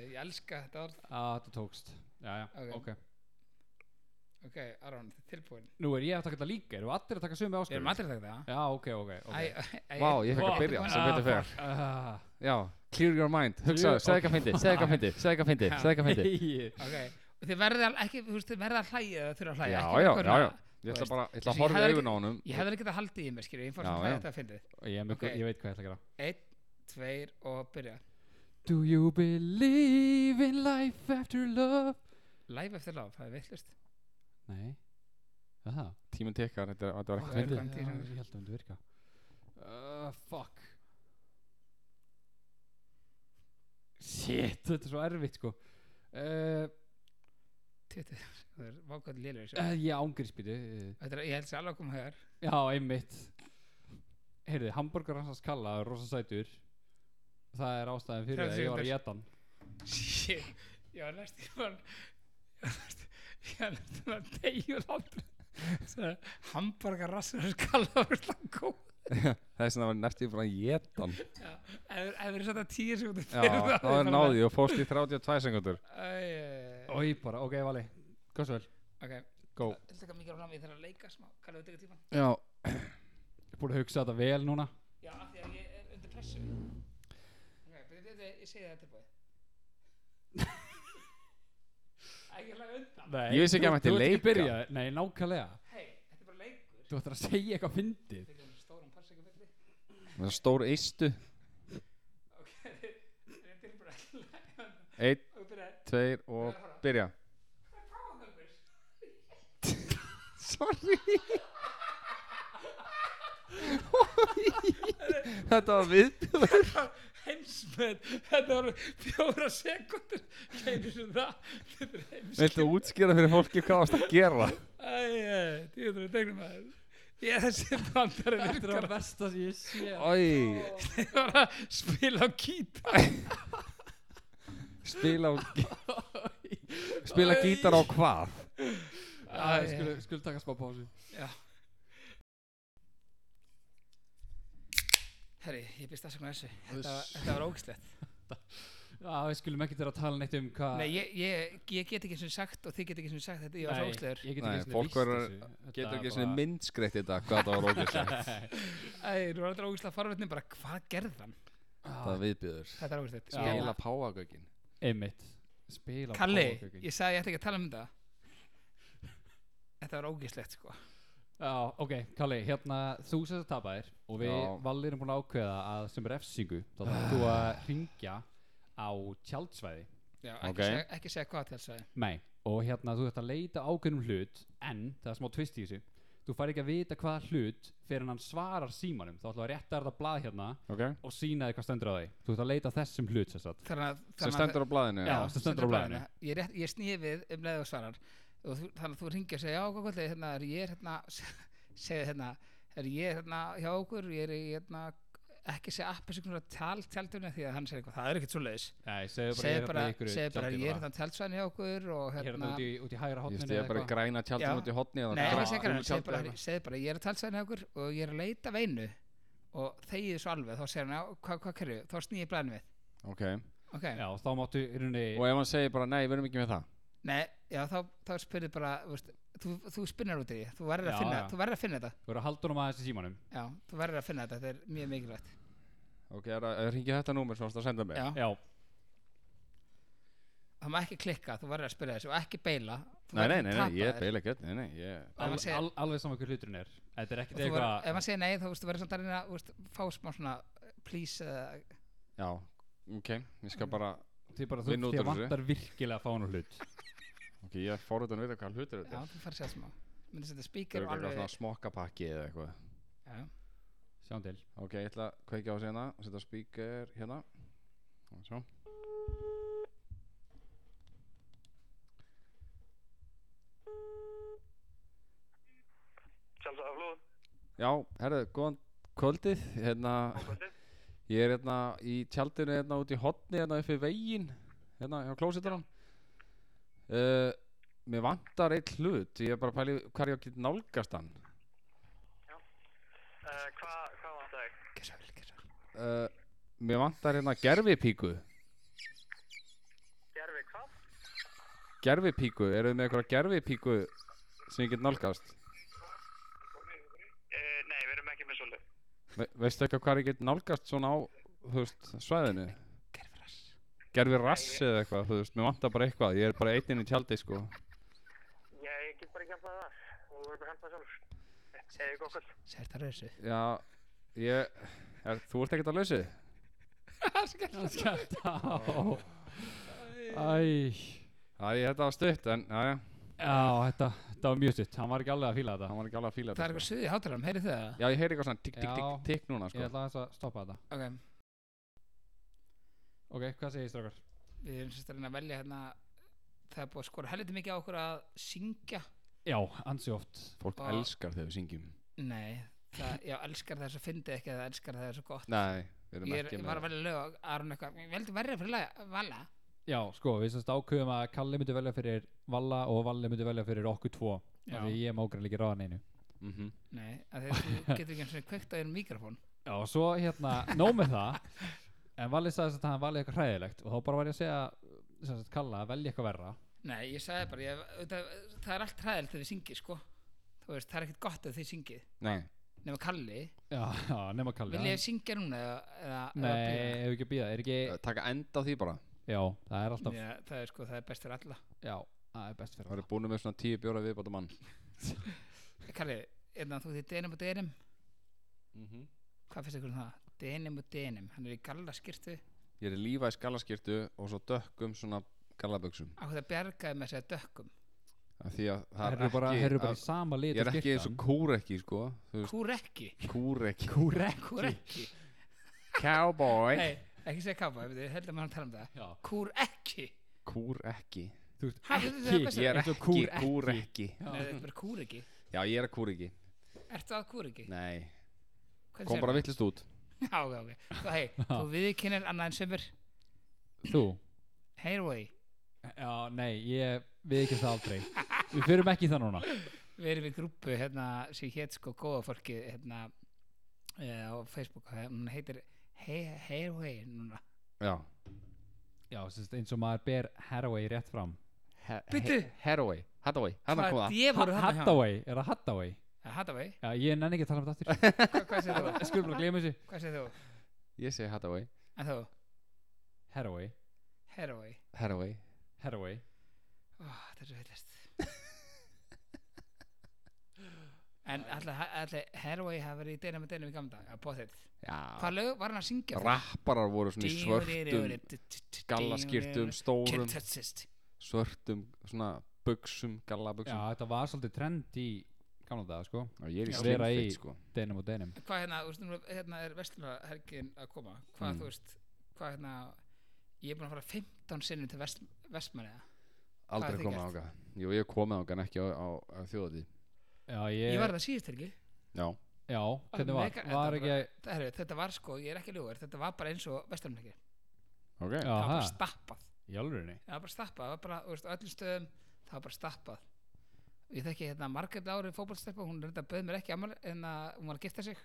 C: ég elska þetta orð
A: Á, þetta tókst já, já,
C: Ok.
A: ok
C: ok, Aron, þetta er tilbúin
A: nú er ég að taka þetta líka erum við allir að taka sömu
C: við
A: áskur
C: erum allir þegar það
A: já, ok, ok, ok
C: Æ, æ, æ,
B: Vá, ég fekk
A: Vá,
B: að byrja, sem
C: þetta
A: var-
B: betur fer
A: Ah,
B: Já, clear your mind, hugsaðu, segðu ekki að fyndi, segðu ekki að fyndi, segðu ekki að <laughs> fyndi, segðu ekki
A: <laughs>
B: að fyndi
A: hey.
C: ok, og þið verða ekki þú veist, þið verða að hlæja eða þurfa að hlæja
B: Já,
C: ekki
B: já,
C: eitthvað
B: já, já
C: svona-
B: Ég
C: Þú
B: ætla
C: veist,
B: bara, ég ætla
C: þessi-
B: að horfa
C: ég
B: í
C: hefði
B: augun á honum
C: ég hefði ekki að haldið í mér, skilur, ég fór
B: Já,
C: svona að hlæja
B: já.
C: þetta að fyndið
A: ég, er með-
C: Ok.
A: ég veit hvað ég ætla að gera
C: einn, tveir og byrja
A: Do you believe in life after love?
C: live eftir láf, það er vittlust
A: Nei Það
B: Tíminn tekkar, þetta þetta var ekkert að
C: Ó,
B: fyndi
C: já.
A: Ég
C: Framtíðin.
A: held að myndi virka uh, Fuck Shit, þetta er svo erfitt sko uh,
C: það er vákvæmt lélur
A: uh, Ég ángriðspýti uh,
C: þetta er, ég held sér alveg að koma hér
A: Já, einmitt Heyrðu, hamburger hans að skalla er rosa sætur Það er ástæðin fyrir
C: 30
A: að ég var að
C: sekúndur.
A: geta hann
C: Shit, ég var næst ég var næst ég var næst að deyja landur hambúrgarrassur skallaður slaggó
B: Það er svona að vera næstu bara <laughs> jétan
C: ef það er þetta tíu sekundir
B: Já, þá er náði og fórst í 32 sekundur
C: ok,
A: Ói, bara, ok, vali Hvað svo vel? Go
C: þetta taka mikið fram ég þarf að leika smá kallar þetta ekki tíman
B: Já
A: Ég er búin að hugsa þetta vel núna
C: já, af því að ég er undir pressu ok, byrju, byrju, ég segi það
B: <laughs>
C: tilbúið ekki hlaga undan
A: Nei,
B: Ég vissi ekki að
A: þú-
B: mætti
A: þú ert ekki
B: leika.
A: byrjaður. Nei, nákvæmlega
C: hei, þetta er bara leikur
A: Þú ættir að segja eitthvað fyndið
C: þetta er stóran pass ekki byrju
B: Stór eistu
C: ok, <laughs> þetta er tilbúið að hlaga undan
B: Einn,
C: og byrja
B: tveir og byrja
C: Páfagangur
B: Sorry Þetta var viðbjörn
C: heimsmet þetta voru fjóra sekundur kemur sem það þetta er heimsmet
B: Viltu útskýra fyrir fólki hvað varst að gera?
C: æj, því þetta er tegnum að ég þessi brandari
A: Þetta er
C: virkar
A: að versta sem ég sé
B: Æ,
C: ég var að spila á gítar
B: spila á spila gítar á hvað?
C: Æ,
A: Skulum skul taka smá pásu
C: herri, ég býst aðsakna þessu þetta, var- þetta var ógislegt
A: Já, við skulum ekki vera að tala neitt um hvað
C: Nei, ég, ég, ég get ekki sem sagt og þið get ekki sem sagt þetta, ég var
A: Nei,
C: svo óslegur
A: ég get
B: Nei,
A: ekki svona
B: fólk
A: víst
B: verður-
A: þessu. Þetta
B: getur ekki
A: bara-
B: svona myndskreitt þetta hvað það var ógæslegt
C: Æ, þú var alltaf ógæslega farvetni bara, hvað gerði hann?
B: það
A: Ah,
B: er viðbjöður
C: Þetta er ógæslegt
A: Já.
B: spila páagögin
A: einmitt spila
C: Kalli,
A: páfagaukin.
C: ég sagði ég ætti ekki að tala um þetta Þetta var ógæslegt sko
A: Já, ok, Kalli, hérna þú sem þetta tapaðir og við
B: Já.
A: Valli erum búin að ákveða að sem refsingu þá
B: <sighs>
A: þarf þú að ringja á tjaldsvæði
C: Já, ekki,
B: Ok.
C: seg, ekki segja hvað til þess að
A: Nei, og hérna þú þarft að leita ákveðnum hlut en, það er smá tvist í þessu þú fær ekki að vita hvað hlut fyrir en hann svarar símanum, þá ætlum við að rétta þetta blað hérna
B: okay.
A: og sína þið hvað stendur á því þú þarft að leita að þessum hlut sem sagt
C: Þannig að
B: sem
C: þannig að-
B: stendur á blaðinu
A: Já. sem stendur á blaðinu.
C: Ég, rétt, ég snýði við um leið og svarar og þú, þannig að þú ringir og segir, já, hvað kvöldið, hérna, er ég er hérna, <laughs> segir hérna, er ég er hérna hjá okkur, ég er í, hérna, ekki segja appi sem svona tal tjaldunni því að hann segir eitthvað, það er ekkert svo leiðis.
A: Nei, segðu bara,
C: Segir
A: ég er
C: bara,
A: hérna í ykkur
C: segir bara,
A: tjaldi
C: ég er
A: bara.
C: hérna tjaldsvæðin hjá okkur og
A: Ég er
C: hérna,
A: hérna út í, út í hægra
B: ég
A: hotninu
B: stið bara í græna
C: Já.
B: tjaldin út í hotni eða
C: nei,
B: græna
C: ekki
B: gulu
C: segir hérna, segir
B: tjaldi
C: bara,
B: eða eitthvað.
C: segir bara, ég er tjaldsvæðin hjá okkur og ég er að leita veinu og þegið svo alveg, þá segir hann, já, hvað, hvað kerju, þá snýði blæðin við,
B: ok
C: ok,
A: Já, þá máttu í rauninni
B: og ef hann segir bara nei, við erum ekki með það
C: Nei, já, þá, þá spyrir bara þú veist, þú, þú spinnar út í því, þú verður
A: Já,
C: að, finna,
A: já.
C: þú verður að finna þetta
A: vera að halda honum aðeins í símanum
C: Já, þú verður að finna þetta, þetta er mjög mikilvægt
B: ok, er að ringja þetta númer sem þú varst að senda mig
C: Já,
A: Já,
C: það má ekki klikka, þú verður að spyrja þessu og ekki beila Þú
B: nei,
C: verður
B: nei,
C: að
B: nei,
C: tapa
B: nei, ég
C: þér.
B: beila ekki öll nei, nei, ég
C: Ef
A: al,
C: hann segir-
A: al, alveg saman hver hluturinn er Þetta er
C: Og
A: ekkert
C: þú verður- Ef
A: eitthvað
C: maður segir nei, þá veist, þú verður samt að reyna þú veist, fá smá svona uh, please uh,
B: Já, ok, ég skal bara
A: Þið bara þú
B: vinna út
A: þér
B: úr þessu.
A: vantar virkilega að fá hann hlut
B: Ok, ég er forðan að vita hvað hlutur
C: Já,
B: þetta er
C: þú færð sér smá Myndi setja
B: Það
C: speaker
B: er
C: og
B: eitthvað
C: alveg
B: svona smokkapakki eða eitthvað
C: já,
A: Sjáum til
B: Ok, ég ætla að kveikja á þessu hérna og setja speaker hérna Og Svo
D: Sjálfsagaflóð,
B: Já, herðu, góðan kvöldið Hérna,
D: ákvöldið.
B: ég er hérna í tjaldinu hérna út í hotni hérna upp við veginn Hérna, hjá klósitaran uh, Mér vantar eitt hlut Ég er bara að pæli hvað ég get nálgast hann
D: Uh, hvað hva var það?
C: gessa vel, gessa vel
B: uh, Mér vantar hérna gerfipíku
D: Gerfi, hvað?
B: Gerfipíku, eru þið með eitthvað gerfipíku sem ég get nálgast?
D: Uh, nei, við erum ekki með svolítið.
B: Ve veistu eitthvað hvað ég get nálgast svona á þú veist, svæðinu
C: Gerfrass
B: gerfi rass eða eitthvað, þú veist, mér vantar bara eitthvað ég er bara einn inn í tjaldi sko
D: Ég get bara ekki hjálpað það. Þú verður að hjálpa sjálfur. Eða gott kvöld.
C: Segir þetta rauðsu
B: já, ég er, þú ert ekkert að lausu
A: Skjátt á Æ
B: já, ég þetta var stutt, en já, já,
A: Já, þetta, þetta var mjög stutt Hann var ekki alveg að fíla þetta
B: hann var ekki alveg að fíla
C: Það er
B: þetta
C: eitthvað
B: sko.
C: suðið hátarum, heyrið þið það?
B: já, ég heyri eitthvað svona tikk, tikk,
A: Já.
B: tikk, tikk núna
A: Ég
B: sko
A: ætla aðeins að stoppa þetta
C: Ok,
A: Ok, hvað segir strákar?
C: við erum sérst að reyna að velja hérna Það er búið að skora helviti mikið á okkur að syngja
A: Já, ansi oft
B: fólk
C: Og-
B: elskar þegar við syngjum
C: Nei, það, já, elskar það svo fyndið ekki eða elskar það svo gott
B: nei, við erum
C: Ég, er,
B: ekki
C: ég var
B: með
C: að velja lög og Aron eitthvað, ég veldi verið fyrir laga, vala
A: Já, sko, við semst ákveðum að Kalli myndi velja fyrir Valla og Valli myndi velja fyrir okkur tvo
C: Já.
A: af Því ég mókran líki ráðan einu
B: mm -hmm.
C: Nei, að þegar þú <laughs> getur ekki einu sinni kveikt á einu mikrofón
A: Já, og svo hérna, nóg með það <laughs> En Valli sagði þess að hann valið eitthvað hræðilegt Og þá bara var ég að segja sem sagt, Kalla að velja eitthvað verra
C: Nei, ég sagði bara, ég, það, það er allt hræðilegt þegar þið syngið, sko Þú veist, það er ekkert gott að þið syngið
B: nei,
C: Nefnum Kalli,
A: Já, já nema Kalli
C: vil ég
A: hann-
C: syngja núna eða, eða eða bíða?
A: Nei, ef ekki að býða, er ekki
B: eh, taka enda á því bara
A: Já, það er alltaf
C: Já, það er sko, það er best fyrir alla
A: Já, það er best fyrir
B: það eru búin með svona tíu bjóra viðbóta mann
C: Kalli, eða þú þið denim og denim
B: mm -hmm.
C: Hvað finnst ykkur um það? Denim og denim, hann er í gallaskirtu
B: ég er lífa í skalaskirtu og svo dökkum svona galaböksum
C: Á hvað það bjargaði með segja dökkum
B: Af því að það
A: Það
B: er
A: eru bara,
B: ekki
A: þeir eru bara
B: að-
A: í sama lit
B: ég er ekki eins og kúrekki sko þú veist,
C: Kúrekki
B: kúrekki
C: Kúrekki
B: cowboy
C: Nei, ekki segja kápa, við heldum að hann tala um það
A: Já, Kúrekki
B: kúrekki
C: Kúrekki
A: Þú veist,
C: Ha, þetta er
A: ekki
C: besta.
B: ég er
A: Eins og
B: ekki
A: kúrekki.
B: kúrekki
C: Nei, þetta er bara kúrekki
B: já ég er að kúrekki
C: Ertu að kúrekki?
B: nei
C: Hvernig
B: kom
C: sérðu?
B: bara vittlust út
C: Já, ok, ok Þú, hei, þú viðkynir annað en sömur
A: Þú
C: Hey, Roy
A: Já, nei, ég við ekki það aldrei Við fyrum ekki í það núna
C: Við erum í grúpu hérna sem hétt sko góða fólki hérna eh, á Facebook hún heitir Hey, hey Roy núna
B: já
A: já, sérst, eins og maður ber Hathaway rétt fram
C: Bíddu.
B: Hathaway Hathaway Hanna kom
C: Hvað
B: það
C: djöfull er þarna hjá?
A: Hathaway, er það Hathaway?
C: Ja, Eh, Hathaway,
A: Já, ég nenni ekki að tala um þetta aftur
C: Hva- hvað segir þú?
B: <laughs>
A: Ég Skulum bara gleyma þessu
C: Hvað segir þú?
B: Ég segi Hathaway
C: En þú?
A: Hathaway,
C: Hathaway
B: Hathaway
A: Hathaway
C: Ó, þetta er svo heillast En allir Hathaway hafa verið í deynum og deynum í gamla dag, að bóðið
B: Já
C: Hvað lög var hann að syngja?
B: Rapparar voru svona í svörtum gallaskýrtum stórum svörtum svona buksum
A: Já,
B: gallabuksum
A: þetta var svolítið trend í gamla daga, sko
B: Já, ég er í
A: Já. Vera í-
B: slimfitt sko
A: Denim og denim
C: Hvað hérna, þú veist, nú er- hérna er vestlunarhergin að koma Hvað
B: Mm.
C: þú veist, hvað hérna Ég er búin að fara 15 sinnum til vest, vestmanniða
B: Aldrei
C: þið
B: komið
C: gert?
B: ákað Jú, ég hef komið ákað en ekki á, á, á þjóðatí
A: Já, ég,
C: Ég var það síðist ekki
B: Já,
A: Já, hvernig var?
C: Mega- þetta
A: Var ekki
C: bara- þetta, herru, þetta var sko, ég er ekki ljúgur Þetta var bara eins og vestlunarhergi
B: ok
A: Já,
C: Það var
A: ha,
C: bara stappað
A: í alvörinni
C: það var bara stappað, það var bara, þú veist, á öllum stöðum það var bara stappað ég þekki hérna Margrét Lári fótballstelpa hún reynda bauð mér ekki amal, hérna, hún var að gifta sig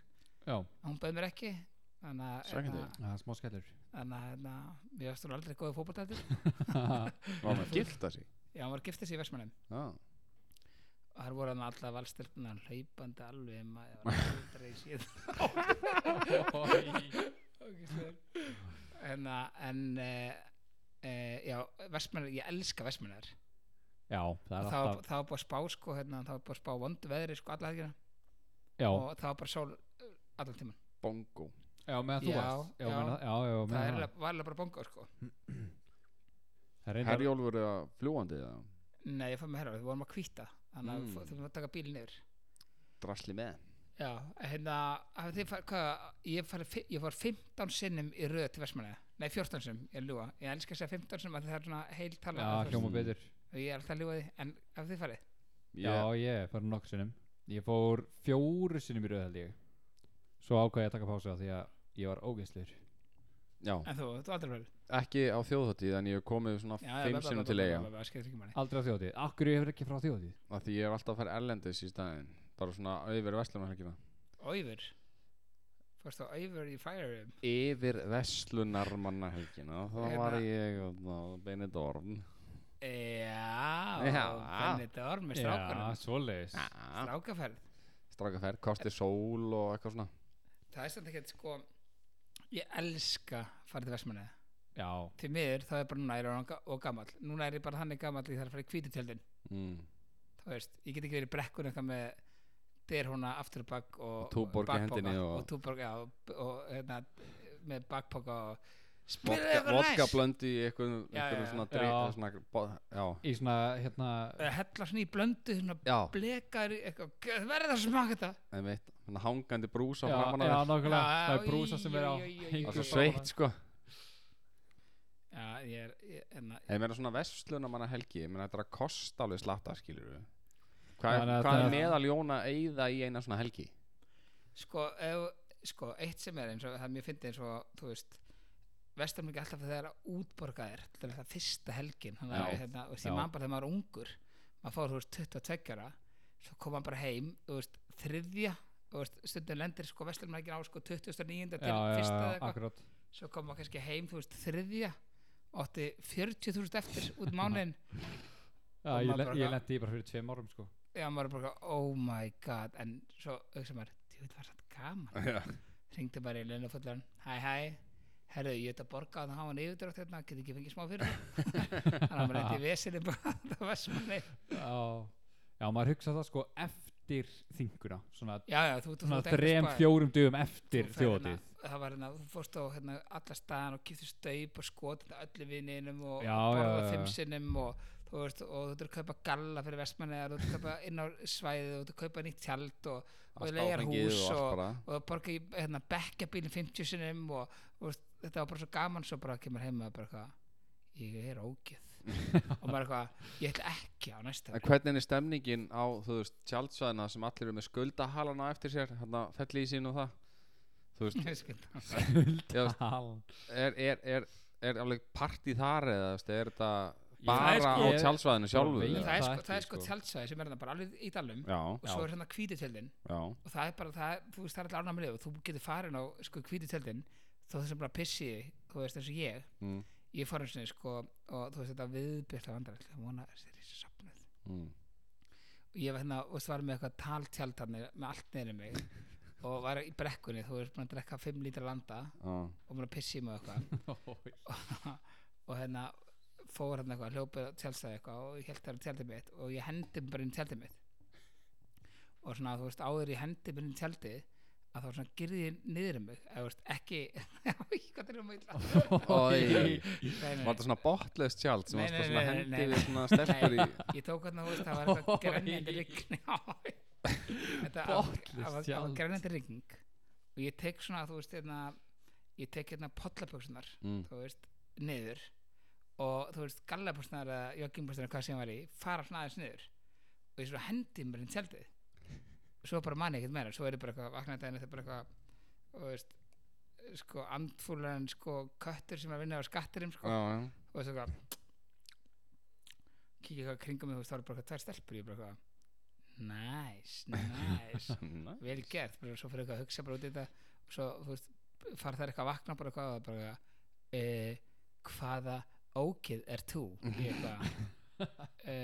A: Já,
C: hún bauð mér ekki þannig að
B: Sækjandi.
C: hérna-
A: það er smá <laughs> skellur
C: þannig að hérna, mér varst hún aldrei góði fótballtelpa
B: Var maður gilt að sig
C: já, hún var að gifta sig í Vestmannum
B: Já,
C: og það voru hann alltaf valstelpuna hlaupandi alveg maður var aldrei
A: <laughs>
C: séð Ógeðslegur. en, að- Hérna, en e, e, já, Vestmannar ég elska Vestmannar
A: Já, það er
C: það var
A: alltaf
C: það var búið að spá sko, hérna, það var búið að spá vondu veðri sko, alla helgina
A: Já,
C: og það var bara sól uh, allan tíman
B: bongo
A: já, meðan þú
C: Já,
A: varst Já,
C: já.
A: meðan það- já, já,
C: það
A: meðan
C: er
A: það
C: alveg- var alveg bara bongo sko
A: Það er reyndar
B: Herjólfur eða fljúandi eða
C: nei, ég fann með herra, við vorum að kvíta þannig að
B: Mm.
C: mm. þurfum að taka bílinn yfir
B: drasli með
C: já, hérna hafið þið farið- hvað, ég, farið, fi- ég var 15 sinnum í röð til Vestmanni nei, 14 sinnum, ég er ljúa ég elskar að segja 15 sinnum að það er svona heil tala
A: Já,
C: þú veist,
A: hljóma betur
C: og ég er alltaf að ljúa því, en hafið þið farið
A: Já, ég fór nokkur sinnum Ég fór fjóru sinnum í röð held ég Svo ákvað ég að taka pásu af því að ég var ógeðslur
B: Já,
C: en þú, þú aldrei farið
B: ekki á þjóðatí en ég hef komið svona fimm sinnum til eiga
C: það skiptir ekki manni
A: Aldrei á þjóðatíð, akkur ég hefur ekki frá þjóðatíð
B: af því ég hef alltaf að fara erlendis í staðin bara svona yfir verslunarhelgina
C: Æfur fórst á Æfur í Færum
B: yfir verslunarmannahelgina þá
C: Hérna.
B: var ég beinið dorn
C: já,
B: Já.
C: þannig þetta var með
A: Já,
C: strákunum Ah.
A: svoleiðis
C: strákaferð
B: strakaferð, kosti sól og eitthvað svona
C: það er samt ekkert sko ég elska farið til Vestmanni
A: Já,
C: til miður þá er bara núna ég er orðinn ga- og gamall núna er ég bara þannig gamall ég þarf að fara í kvítutjöldin
B: mm.
C: þá veist ég get ekki verið í brekkur eitthvað með derhóna afturbakk og,
B: Og túborg í
C: bakpoka
B: hendinni og-
C: og túborg já, og, og hérna með bakpoka og spila
B: vodka,
C: eitthvað
B: vodka
C: næs
B: blöndi í einhverjum
C: Já, já,
B: einhverjum
C: já.
B: svona drið
A: Já.
B: svona, bo- já,
A: í svona hérna
C: Eða hella Eh, svona í blöndu svona
B: já,
C: blekar í eitthvað "Guð, verður það að smaka þetta
B: einmitt svona hangandi brúsa
A: Já,
B: framan
A: já
B: að þér
A: nákvæmlega,
C: Já,
A: það er
C: í,
A: brúsa sem er á
C: í, í, í, í.
B: það
A: hengur
B: er
A: framan
B: svo
A: að-
B: sveitt sko
C: já ég er ég, hérna,
B: ég meina svona verslunarmannahelgi ég meina þetta er að kosta alveg slatta skilur við hvað,
A: Þannig
B: er-
A: að
B: hvað
A: það-
B: er meðal Jóna eigða í eina svona helgi
C: sko, ef, sko eitt sem er eins og það mér fyndi eins og þú veist vestar mikið alltaf þegar að útborga þér þetta er alltaf fyrsta helgin þannig að
B: Já.
C: hérna, þú veist,
A: Já.
C: ég man bara þegar maður var ungur maður fór þú veist 22 ára svo kom maður bara heim þú veist, þriðja þú veist, stundum lendir sko vestar mikið á sko 29. til
A: Já, já,
C: fyrsta
A: já,
C: eða eitthvað
A: akkurat
C: svo kom maður kannski heim þú veist þriðja og átti 40.000 eftir út
A: <laughs>
C: mánuðin
A: Já,
C: Og
A: ég,
C: maður
A: le-
C: bara
A: ég
C: eitthvað-
A: lendi í bara fyrir tveim árum sko
C: já maður er bara eitthvað, oh my god en svo auðvitað maður þetta var satt gaman
B: Já.
C: ringdi bara í launafullan hæ hæ, herðu ég ætla að borga að það hafa hann yfirdrátt hérna, geti ekki fengið smá fyrir það?"
A: <laughs>
C: þannig að maður lendi í vesinni bara <laughs> það var svona
A: Já, já maður hugsa það sko eftir þinguna Svona,
C: já já, þú, þú,
A: svona
C: þú ert
A: þrem,
C: eitthvað spæ-
A: fjórum dögum
C: þú
A: eftir
C: ferð
A: þjóðatíð <laughs>
C: hérna- það var hérna, þú fórst á hérna alla staðan og kýftu staup og skot hérna öllu vininum og
A: Já,
C: og
A: já,
C: borða
A: já, já.
C: fimm sinnum og þú veist, og þú ert að kaupa galla fyrir vestmanniðar, þú ert að kaupa inn á svæðið og þú ert að kaupa nýtt tjald og
B: Allt
C: leigar
B: áfengið
C: hús
B: allt
C: og-
B: bara.
C: og borga í hérna, bekkjabílinn 50 sinnum og, og veist, þetta var bara svo gaman svo bara kemur heima og bara eitthvað ég er ógeð og maður eitthvað, ég ætla ekki á næsta
B: En hvernig er stemningin á, þú veist, tjaldsvæðina sem allir eru með skuldahalana eftir sér, hérna felli í sín og það þú veist,
C: ári <laughs>
B: Já,
A: Hal-
B: er, er, er, er alveg partí þar eða, þú veist, er þetta
A: Ég-
B: bara
A: Það er
B: á
A: <laughs> sko-
B: tjaldsvæðinu sjálfu
A: Ég-
C: það
A: það
C: er sko,
A: ekki,
C: það er sko
A: sko.
C: tjaldsæði sem er þarna bara alveg í dalum
B: Já,
C: og svo er hérna kvítutjöldin
B: já,
C: og það er bara, það, þú veist, það er alltaf ánæmlega og þú getur farin á sko kvítutjöldin þó þess að bara pissi, þú veist, eins og ég
B: mm,
C: ég fór eins og sko og þú veist þetta viðbjörsla vandræð það vona sér í safnið
B: mm.
C: og ég var hérna og var með eitthvað taltjald þarna með allt neyri
B: <laughs>
C: mig og var í brekkunni þú veist búin að drekka 5 lítra landa
B: á,
C: og búin að pissi mig og eitthvað
B: <laughs>
C: og hérna fór hann eitthvað, hljópið á tjálstæði eitthvað og ég held það á tjaldið mitt og ég hendi bara inn í tjaldið mitt og svona þú veist áður ég hendi bara inn í tjaldið að þá svona gyrði ég niður um mig eða þú veist ekki <laughs> Í, hvað er um mig illa?
B: Oi.
C: Nei, nei,
B: <laughs> Var þetta svona botlaust tjald sem
C: Nei,
B: var
C: nei,
B: svona
C: nei, nei,
B: hendi
C: nei,
B: við svona stelpur í
C: <laughs> nei, ég tók hann að þú veist það var eitthvað
A: Oj.
C: grænjandi rigning þetta það var-
A: Botnlaust
C: það var- það var
A: tjald.
C: grænjandi rigning og ég tek svona þú veist hérna ég tek hérna pollapöksunar
B: mm.
C: þú veist, niður og þú veist, gallabúsnar eða joggingbúsnar hvað sem ég var í, fara svona aðeins niður og ég svo hendi mér inn í tjaldið svo bara man ég ekkert meira svo er ég bara eitthvað, vaknaði daginn þetta bara eitthvað og þú veist, sko andfúlan sko köttur sem er að vinna á skatturum
B: Já,
C: sko,
B: já,
C: og þessu eitthvað kíkja eitthvað kringum mig, þú veist, þá er bara eitthvað tvær stelpur, ég bara eitthvað næs,
B: <laughs>
C: næs
B: Næ.
C: vel gert, bara svo fyrir eitthvað að hugsa bara út í þetta og svo, þú veist, fara þær eitthvað að vakna bara eitthvað og það bara e, hvaða ókið er þú ég eitthvað e,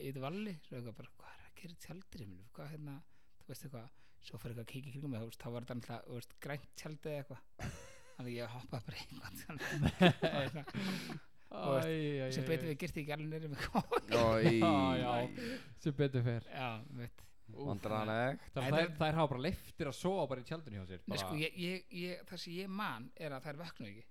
C: ég veit valli, svo eitthvað bara hvað er að gera í tjaldri minn, hvað hérna þú veist eitthvað, svo fyrir eitthvað að kíkja í kringum mig þú veist, þá var þetta alltaf, þú veist, grænt tjaldið eða eitthvað þannig ég hoppaði bara eitthvað svona.
A: Eh,
C: sem betur við gert ekki alveg neyri með kóð
B: <laughs> Oi.
A: Já, já. sem betur fer
C: já, veit
B: Vandræðalegt
A: Það
C: Nei,
A: er,
C: það-
A: það er hafa bara leiftir að sofa bara í tjaldinu hjá sér
C: Nei,
A: bara,
C: sko, ég, ég, ég, það sem ég man er að það er vöknu ekki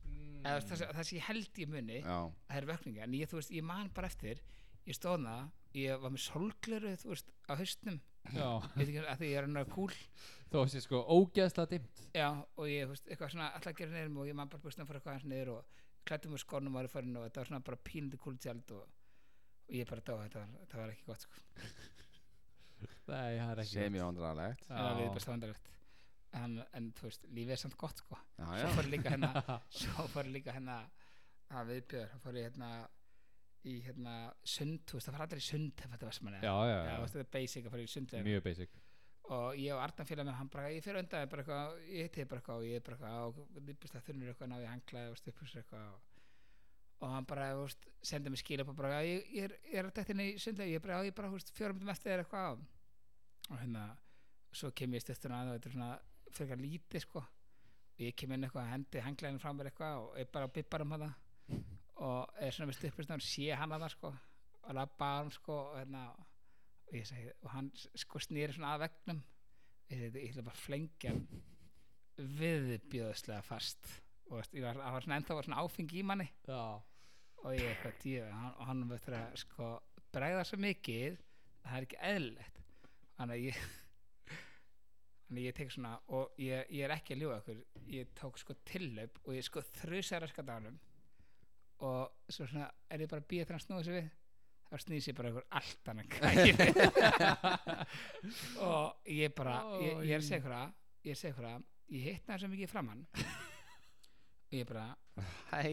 A: Mm.
C: eða það, sem- það sem ég held ég muni
B: Já,
C: það er vökninga, en ég, þú veist, ég man bara eftir ég stóð það, ég var með solgleru þú veist, á haustnum
A: Já,
C: veit ekki, að því ég er hann að kúl
A: þó sé sko ógeðslega dimmt
C: já, og ég, þú veist, eitthvað svona alltaf að gera neyrum og ég man bara búst að fara eitthvað hans neyður og klættum úr skónum ári farin og þetta var svona bara pílandi kúltjald og, og ég bara dó, þetta var, þetta var ekki gott sko.
A: Nei, það er ekki
B: sem ég vandræðalegt
A: Já.
C: það var við besta vandarlegt en, en þú veist, lífið er samt gott sko.
B: Já, já,
C: svo fór ég líka
A: <laughs>
C: hérna svo fór ég líka hérna að viðbjör, þá fór ég hérna í hérna sund, þú veist, það fara allir í sund ef þetta var sem
A: <laughs>
C: hann
A: Já, já,
C: Já, þú veist,
A: já,
C: þetta er basic að fara í sundlegar
A: mjög basic
C: og ég og Arnar félag með hann bara, ég fyrir undan þér bara eitthvað, ég hitti þig bara eitthvað og ég bara eitthvað og lípist að þunnur eitthvað náði hanglaði og stuppur sér eitthvað og, og hann bara, þú veist, sendið mér skil upp og bara, "Já, ég, ég, er, ég er að dætt inn í sundlegar ég bara, "Já, ég bara, þú veist, fjórum með eftir þér eitthvað og, og hérna, svo kem ég stöttuna að og þetta er svona fyrir eitthvað lítið sko og ég kem inn eitthvað, hendi hanglaðinu frá mér eitthvað og ég bara bibbar um hana og er svona með stuppurstofn sé hann að það sko og labba að hann sko og, hérna, og, ég segi, og hann s- sko snýri svona að vegnum ég, segi, ég ætla bara að flengja hann viðbjöðslega fast og veist, ég var, hann var svona ennþá var svona áfengi í manni
A: Já,
C: og ég eitthvað djú, hann, og hann verður að sko bregða svo mikið að það er ekki eðlilegt þannig að ég <laughs> þannig að ég tek svona og ég, ég er ekki að ljúga okkur ég tók sko tillöp og ég sko þrjusar að skatánum og svo svona er ég bara að býja þegar hann snúið sér við þá snýs ég bara ykkur allt annan <laughs> gæði og ég bara ég, ég er að segja ykkur að ég er að segja ykkur að ég hitt hann svo mikið framann og ég bara
B: Hæ
C: <laughs>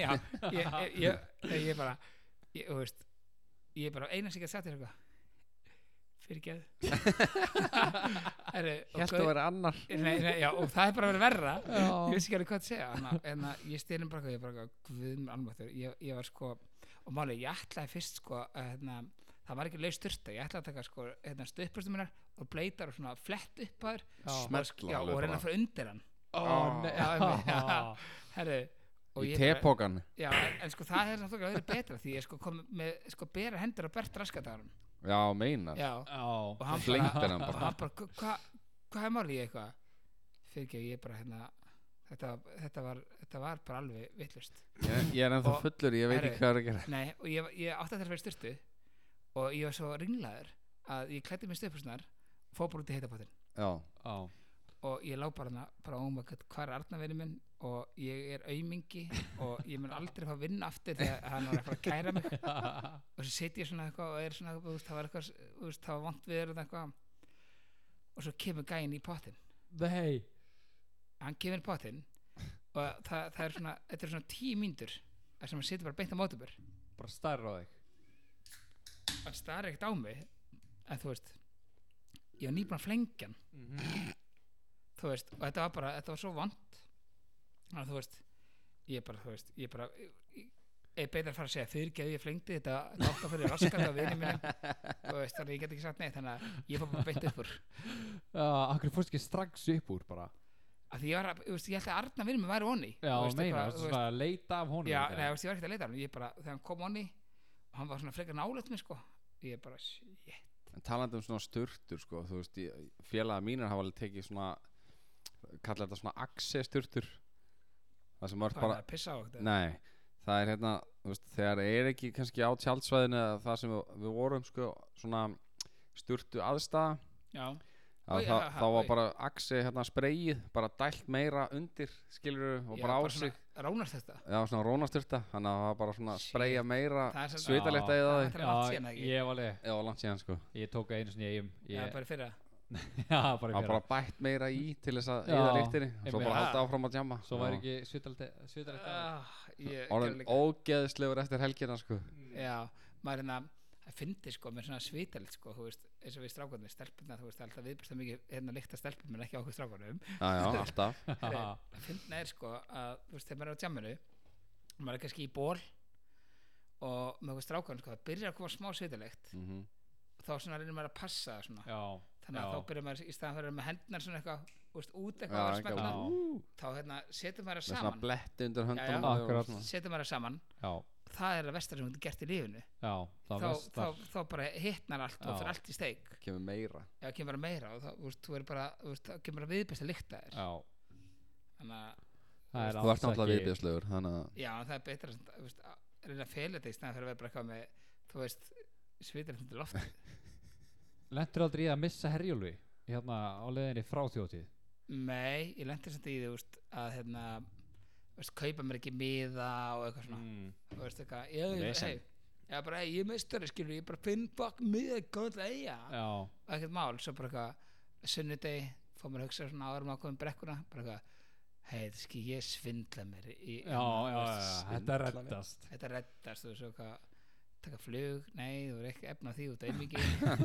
C: já, ég, ég, ég, ég, ég bara ég, þú veist, ég bara eina sem ég gæti sagt þér eitthvað fyrir geð
B: Hjælt að vera annar
C: nei, nei, já, og það er bara verið verra ég vissi ekki alveg hvað að segja en, að- en að ég styrnum bara eitthvað, ég bara eitthvað, guðum almáttur ég, ég var sko, og máli ég ætlaði fyrst sko, að hérna það var ekki laus styrta, ég ætlaði að taka sko hérna stöðpustum minnar og bleitar og svona flett upp að þér
B: Smerla
C: já, og
B: alveg
C: reyna að
B: bara
C: fara undir hann
A: Ó, nei,
C: Já, einmitt, já.
A: já.
C: herri, og
B: Í
C: ég bara-
B: tepókan
C: Já, en, en sko það er náttúrulega verið betra því ég sko kom með sko bera hendur á Bert Raskadarum
B: Já, meinar
C: <laughs> Já, og hann
B: Flengdir
C: bara,
B: hann
C: og
B: bara
C: hann bara "Hva- hvað hva er málið í eitthvað? Fyrir ekki, ég bara hérna þetta, þetta, var, þetta var bara alveg vittlust
B: Ég ég er ennþá
C: Og-
B: fullur, ég veit
C: Herri.
B: ekki hvað er að gera
C: Nei, og ég, ég átti að það að vera styrtu og ég var svo ringlaður að ég klætti mér stöðpusnar fór bara út í heitapottin
B: Já,
A: Já,
C: og ég lá bara hana, bara oh óma hvað er Arnaveri minn og ég er aumingi og ég mun aldrei fá að vinna aftur þegar hann var að fara að kæra mig og svo setjum ég svona eitthvað og er svona þú veist, það var eitthvað, þú veist, það var vant við erum eitthvað og svo kemur gæinn í pottin
A: <laughs> nei
C: hann kemur í pottin og það, það er svona, þetta er svona tíu mínútur þar sem hann setur bara beint á mótubur
A: Bara starra á þig
C: hann starri ekkert á mig en þú veist ég var nýbúin að flengja hann
A: Mhm.
C: þú veist, og þetta var bara, þetta var svo vant þannig að þú veist ég bara, þú veist, ég bara ég, ég- er betra að fara að segja fyrirgeðu ég flengdi þetta nátt að fyrir raskat á vinið mínum þú veist, þannig að ég get ekki sagt neitt þannig að ég fór bara beint upp úr
A: uh, Akkur fórst ekki strax upp úr bara
C: að því ég var, að- þú veist, ég ætla að Arna vinið mér væri onni
A: Já,
C: Þú veist,
A: meina,
C: eitthvað,
A: þú
C: þú
A: veist að leita af honum
C: já,
A: eitthvað?
C: nei, þú veist, ég var ekkert að leita hann ég bara, þegar hann kom onni og hann var svona frekar nálætt mér sko ég bara, shit,
B: En talandi um svona sturtur sko, þú veist, ég- félagar mínir hafa alveg tekið svona kalla þetta svona axi sturtur það sem var
C: hvað er
B: bara
C: það að pissa á þetta
B: Nei, það er hérna þú veist, þegar er ekki kannski á tjaldsvæðinu eða það sem við, við vorum sko, svona sturtu aðstæða
C: já,
B: að
C: Oj,
B: það,
C: aha,
B: þá var
C: oj.
B: bara axi hérna spreyið, bara dælt meira undir skilur og
C: Já,
B: bara á sig
C: svona, ránast þetta
B: Já, svona rónastyrta, þannig að það var bara svona að
C: Shit.
B: spreja meira
C: Það er sem-
B: svitalegt að
C: það
B: það
C: er
B: því
C: alltaf langt síðan eða
A: Já,
C: ekki
A: ég var alveg
B: eða langt síðan sko
A: Ég tók einu sinni í eigum
C: já,
A: Ég-
C: bara fyrir að
A: <laughs> Já, bara
B: Það var
A: fyrir
B: bara bætt meira í til þess að
A: Já,
B: eða lyktinni
A: einmitt.
B: Svo bara
C: Ha.
B: halda áfram að jamma
A: Svo væri ekki svitalegt
C: Ah, ég gerði
B: Orðin
C: líka Mm.
B: ógeðislegur eftir helgina sko
C: já, maður hérna það fyndi sko með svona svitalegt sko þú veist, eins og við strákunni, stelpunna þú veist alltaf viðbyrsta mikið hérna líkta stelpun menn ekki á okkur strákunum
B: Já,
C: <laughs>
B: já, alltaf
A: <laughs>
C: Heyrðu, það fyndna er sko að þú veist þegar maður er á tjamminu maður er kannski í ból og með okkur strákunum sko það byrjar að koma smá svitalegt
B: mm
C: þá svona reynir maður að passa það svona
A: Já
C: þannig að
A: já.
C: þá byrjar maður í staðan fyrir að vera með hendnar svona eitthvað þú veist, út
B: Já,
C: eitthvað að
B: eitthvað.
C: smetna
A: Já.
C: þá hérna setur maður það
B: Með svona
C: saman
B: bletti undir höndunum og
C: Já, já.
B: það var
A: Akkurat.
B: svona-
C: setur maður það saman
A: Já,
C: það er að vestar sem þú getur gert í lífinu
A: já, það
C: þá,
A: vestar
C: þá, þá bara hittnar allt
A: Já.
C: og fyrir allt í steik
B: Kemur meira
C: já, kemur bara meira og þá, þú veist, þú er bara þú veist, þá kemur bara viðbest að lykta þér
A: Já,
C: þannig að,
A: það er
B: Þú ert
A: alls
B: náttúrulega
A: ekki
B: viðbjöðslegur Þannig að
C: já, en það er betra samt, þú veist, að reyna að fela þetta í snæðan fyrir að vera bara eitthvað með, þú veist svitar
A: <laughs>
C: þetta loft
A: Lentur aldrei í að missa herjólfi Hérna á leiðinni frá þjótið
C: nei, ég lendir samt í því, þú veist, að hérna þú veist, kaupa mér ekki miða og eitthvað
A: Mm.
C: svona, þú veist, eitthvað ég, ég,
B: Vesen.
C: hey, já, bara, hey, ég er meistari, skilur ég bara finn bak miða, góðlega, eiga
A: Já,
C: og ekkert mál svo bara eitthvað sunnudegi fór mér að hugsa svona áður en maður komið brekkuna bara eitthvað hei þetta skil ég svindla mér í,
A: já, já, já, já, þetta
B: svindla mér.
A: reddast <laughs>
C: þetta reddast þú veist svo eitthvað taka flug, nei þú er ekki efna því út einmiki
A: <laughs>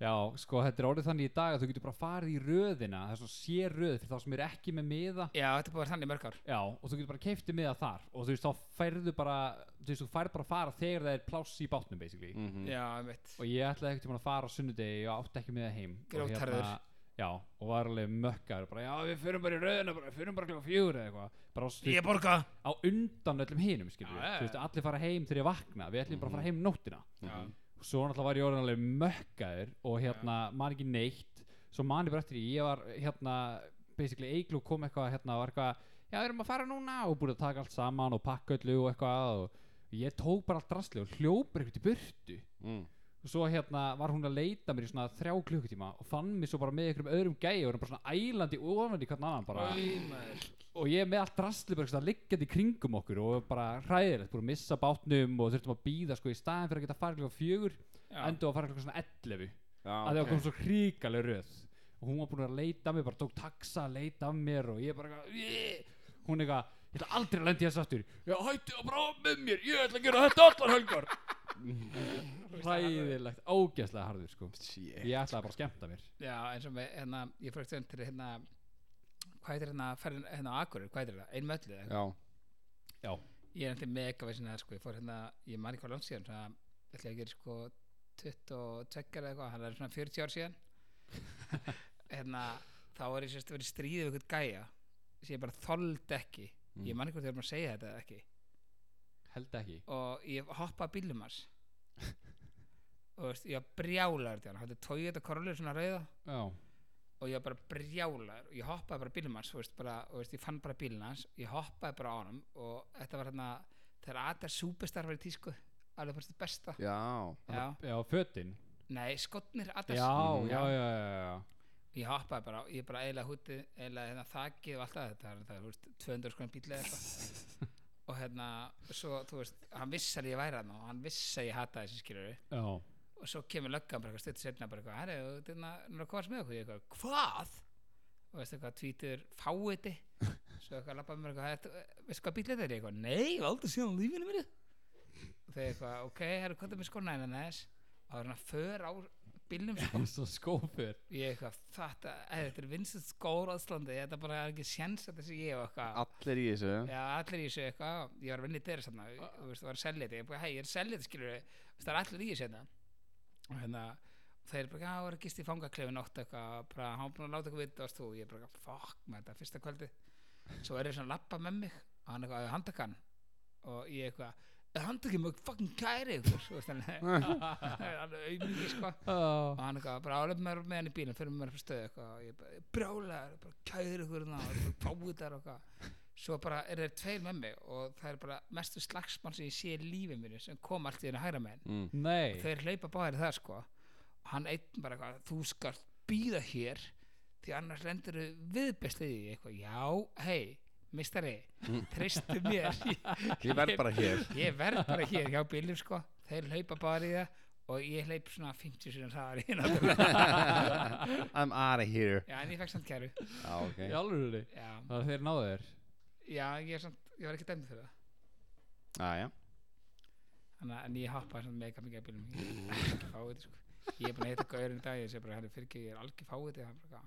A: Já, sko, þetta er orðið þannig í dag að þú getur bara farið í röðina Það er svo sér röð fyrir þá sem eru ekki með miða
C: já þetta er búið að vera þannig í mörg ár
A: Já, og þú getur bara keftið miða þar Og þú veist, þá færðu bara Þú veist, þú færð bara að fara þegar það er pláss í bátnum, basically
C: Mm.
B: mhm.
C: já einmitt
A: Mm. Og ég ætlaði ekkert að fara á sunnudegi og átti ekki miða heim Og hérna-
C: Grjótharður.
A: Já, og var alveg mökkar bara, Já, við fyrum bara í röðina, bara, fyrum bara klokka fjúr eða eitthvað Bara á, þú
C: ég
A: veist,
C: borga
A: á undan öllum hinum, skiljum
C: Já, já, Mhm. já.
A: Þú veist, allir fara heim þegar ég vakna Við ætlum bara að fara heim um nóttina
C: já,
A: og svo náttúrulega var ég orðin alveg mökkaður og hérna man ekki neitt svo man ég bara eftir því, ég var hérna basically eiglu kom eitthvað hérna og var eitthvað já við erum að fara núna og búið að taka allt saman og pakka öllu og eitthvað og ég tók bara allt drastli og hljópar eitthvað í burtu
B: Mm.
A: og svo hérna var hún að leita mér í svona þrjá klukkutíma og fann mér svo bara með einhverjum öðrum gæi og erum bara svona ælandi ofan í hvern annan bara
C: Æ, maður.
A: og ég með allt drastli bara svona liggjandi í kringum okkur og bara hræðilegt, búin að missa bátnum og þurftum að býða sko í staðin fyrir að geta farið klokka fjögur
C: já.
A: endur að fara klokkan svona 11
B: Já,
A: að það kom svo hríkaleg röð og hún var búin að leita að mér, bara tók taxa að leita að mér og ég bara eitthvað, "Ih!" hún eitthvað, ég ætla aldrei að lendi þess aftur ég hætti að brá með mér, ég ætla að gera þetta allar <laughs> helgar hræðilegt, ógeðslega harður sko
B: Shit.
A: ég ætlaði bara að skemmta mér
C: já eins og með hérna ég fór ekki til hérna hvað heitir hérna ferðin hérna á Akurur hvað heitir það einmöllu eða eitthvað?
B: Já,
A: já,
C: ég er ennþá mega veginn að sko, ég fór hérna, ég man ekki hvað langt síðan svona, ég ætla ekki að gera sko 22 eða eitthvað, hann er svona 40 ár síðan hérna þá var ég sérst að vera í stríði við eitthvað gæja sem ég bara þoldi ekki ég man ekki hvað þegar maður að segja þetta eða ekki
A: held ekki
C: og ég hoppaði á bílum hans og veist, ég var brjálaður til hann hann tóið þetta korlur svona rauða
A: já,
C: og ég var bara brjálar og ég hoppaði bara bílum hans þú veist, bara, þú veist, ég fann bara bílum hans ég hoppaði bara á hann og þetta var hérna þegar Adar Superstar var í tísku alveg fyrst það besta
B: já
C: já.
A: já, Mhm. fötin
C: nei, skotnir
A: já,
C: Adars
A: já, já, já, já,
C: ég hoppaði bara, ég bara eiginlega hútið eiginlega hérna, þakið og allt það þetta var þetta, þú veist, 200 skoðin bíl eða eitthvað og hérna, svo, þú veist hann vissi að ég væri hann og hann vissi að ég hata þessi skilur
A: já.
C: og svo kemur löggan bara eitthvað stuttu setna bara eitthvað, herri, þú veist, hann er að komast með okkur ég eitthvað, hvað? og veist eitthvað, tvítur fáiði svo eitthvað lappaði mér eitthvað, "Þetta- veistu hvað bíl þetta er Ég eitthvað, nei, ég hef aldrei síðan lífinu hérna mér og þegar eitthvað, ok, herri, hvað er með skona en þess og það er hann að för á bílnum sko.
A: eins og <laughs> skópur
C: ég eitthvað þetta, eða þetta er vinsins skór á Íslandi þetta bara er ekki sjens að þessi ég og eitthvað
B: Allir í þessu
C: Já, allir í þessu eitthvað, ég var að vinna í þeirra sann þú veist, það var að selja þetta, ég bara, hei, ég er að selja þetta skilur, það er allir í þessu hérna og hérna, þeir bara, já, það var að gist í fangaklefin ótt eitthvað, bara, hann var búin að láta eitthvað við varst þú, ég bara, fuck, með þetta fyrsta kvöldi svo er ég svona að lappa með mig og hann eitthvað, að handtaka hann og ég eitthvað, að handtaka mig, fucking kæri ykkur, þú veist, <laughs>
B: Mm.
C: hann auðvitað, sko og
A: oh.
C: hann eitthvað bara álef með, með hann í bílinn fyrir með mér fyrir stöðu eitthvað og ég bara brjálæður, bara kæður ykkur hérna og bara fáutar og eitthvað svo bara er þeir tveir með mig og það er bara mestu slagsmann sem ég sé í lífið mínu sem kom allt í hennu hægra með
B: mm.
A: nei
C: henn þeir hlaupa báðir í það sko og hann einn bara eitthvað þú skal býða hér því annars lendur þau viðbest í því eitthvað já, hei, mistari treystu mér
B: <laughs> Ég verð bara <laughs> hér
C: ég verð bara hér hjá bílum sko þeir hlaupa bara í það og ég hlaup svona 50 sinna hraðar í náttúrulega
B: I'm out of here
C: já en ég fekk samt kæru
B: Já, ok
A: í alveg
C: já,
A: það er þeir náðu þér
C: já ég, er samt, ég var ekki dæmd fyrir það
B: Já, já
C: Þannig, að- en ég hoppaði samt mega mikið af bílum ég er ekki fáið sko. ég er búin að heita gaurin í dag ég sé bara hérna fyrir ekki ég er algjör fáið hann bara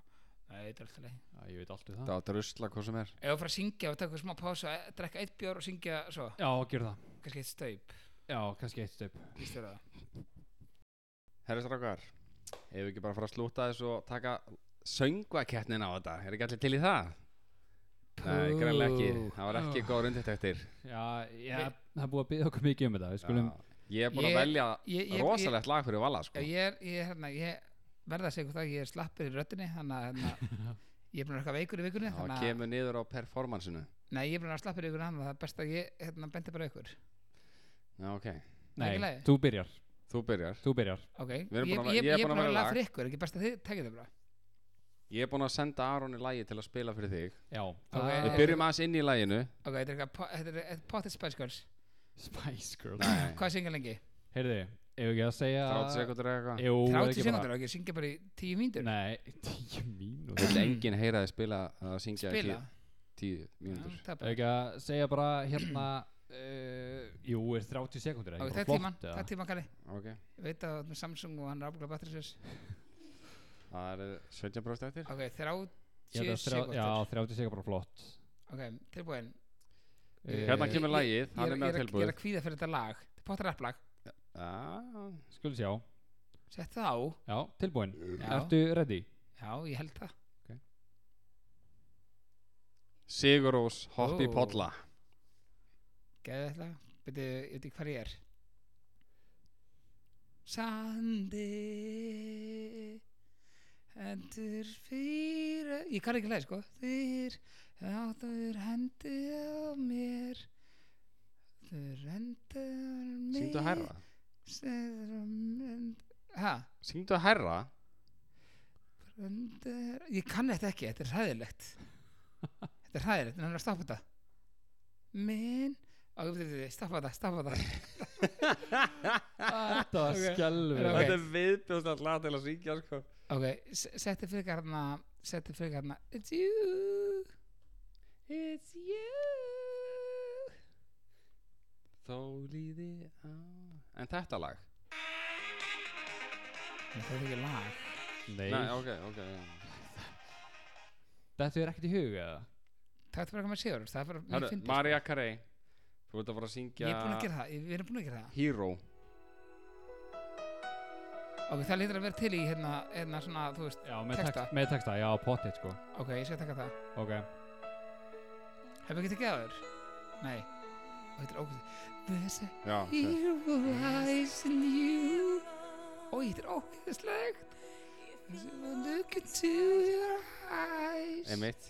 C: Nei, þetta er alltaf leið.
A: já, ég veit alltaf það
B: Það átt að rusla hvað sem er
C: Ef að fara að syngja og taka smá pásu að drekka eitt bjór og syngja svo,
A: já, gerðu það
C: kannski eitt staup,
A: já, kannski eitt stöp
C: í stjóra það.
B: Herri strákar Ef við ekki bara fara að slúta þessu og taka söngvakettnin á þetta Er ekki allir til í það? Nei, greinlega ekki Það var ekki góð rundið eftir
A: já, já
C: Nei.
A: það er búið að byggja okkur mikið um þetta við skulum
B: Ég er búin að
C: Ég-
B: velja
C: Ég, ég, ég,
B: rosalegt lag fyrir Vala
C: Já,
B: sko
C: ég er, ég er hérna, ég verða að segja ykkur það, ég er slappur í röttinni, þannig að
B: <laughs>
C: hérna, ég er búin að vera eitthvað veikur í vikunni,
B: Það
C: þannig að,
B: kemur niður á performansinu
C: nei, ég er búin að vera slappur í vikunni, þannig að það er best að ég, hérna, bendi bara á ykkur.
B: Já, ok
C: Ekki
A: nei,
C: lagi?
A: þú byrjar
B: Þú byrjar
A: þú byrjar
C: Ok, ég,
B: Við erum
C: ég,
B: búin að-
C: ég,
B: ég er
C: er
B: búin að
C: búin að
B: vera
C: vera lag
B: lag.
C: fyrir ykkur, ekki best að þið tekið það bara.
B: Ég er búin að senda Aroni lagi til að spila fyrir þig
A: já, það
C: Ok.
B: Við byrjum aðeins inn í laginu
C: <clears throat> Ok, þetta er eitthvað, po- þetta er eitthvað potið Spice Girls.
A: Spice Girls
B: Nei
C: Hvað syngja lengi?
A: heyrðu, ef ekki að segja
B: 30 sekundur eða eitthvað
A: Jú, er
C: 30
A: ekki bara-
C: sekundur, ok, syngja bara í 10 mínútur.
A: Nei, <laughs> 10 mínútur
B: Vill enginn heyra þið spila að syngja
C: Spila. Ah,
B: 10 mínútur
C: Já,
A: Ef
C: það er bara-
A: ekki að segja bara hérna uh, Jú, er 30 sekundur
C: Ok, það er tíman, það er tíman, Kalli.
B: Ok
C: Ég veit að þú ert með Samsung og hann er ábúinlega batterisins.
B: Það er 17% eftir
C: Ok, 30
A: tíman Já,
C: sekundur.
A: 30 sekundur bara flott
C: Ok, tilbúin.
A: Eh,
B: Hérna
C: Ég-
B: kemur
C: ég-
B: lagið, hann
C: Ég-
B: er
C: ég
B: með
C: að- Ég er
B: tilbúið
C: að kvíða fyrir þetta lag. Þetta er potið rapplag.
B: Já,
A: Skul sjá
C: Sett það á.
A: Já, tilbúin
C: Já.
A: Ertu ready?
C: Já, ég held það
B: Sigurós Hoppi
C: Ó.
B: Podla
C: Gæði þetta Byrju, ég veit ekki hvað ég er Sandi Hendur fyrir Ég kann ekki leið sko Þýr Þáttur hendur á mér Þur hendur mér
B: Syngdu hærra
C: Seður á mér Hæ?
B: Syngdu hærra
C: Hendur Ég kann þetta ekki, þetta er hræðilegt Þetta er hræðilegt, en hann er að stoppa þetta Minn Á, ég veit þetta, stoppa þetta, stoppa þetta <laughs>
A: Þetta var
C: Ok.
A: skelfið
C: Ok.
B: Þetta er viðbjóðslega lag til að syngja sko
C: Ok, s- settu fyrir garna Settu fyrir garna It's you It's you
B: Þó líði á En þetta lag
C: Nei, Það er ekki lag
A: Nei,
B: Nei, ok, ok já.
A: Þetta er ekkert í hug eða?
C: Það er bara eitthvað með sigur Það er bara mér
B: Herru,
C: fyndið, sko.
B: Maria Carey Þú ert að fara að
C: Ég er búin
B: syngja
C: að gera það, ég- við erum búin að gera það
B: Hero
C: Ok, það lítur að vera til í hérna, hérna svona, þú veist
A: Já, með
C: Texta.
A: texta, með texta Já, potið sko
C: Ok, ég skal taka það
A: Ok
C: Mhm. Hefur ekki tekið það þér? Nei Og þetta er ógæðið There's a
B: Já, þetta-
C: hero eyes in you Ó, þetta er ógæðislegt There's a look into your eyes
B: Einmitt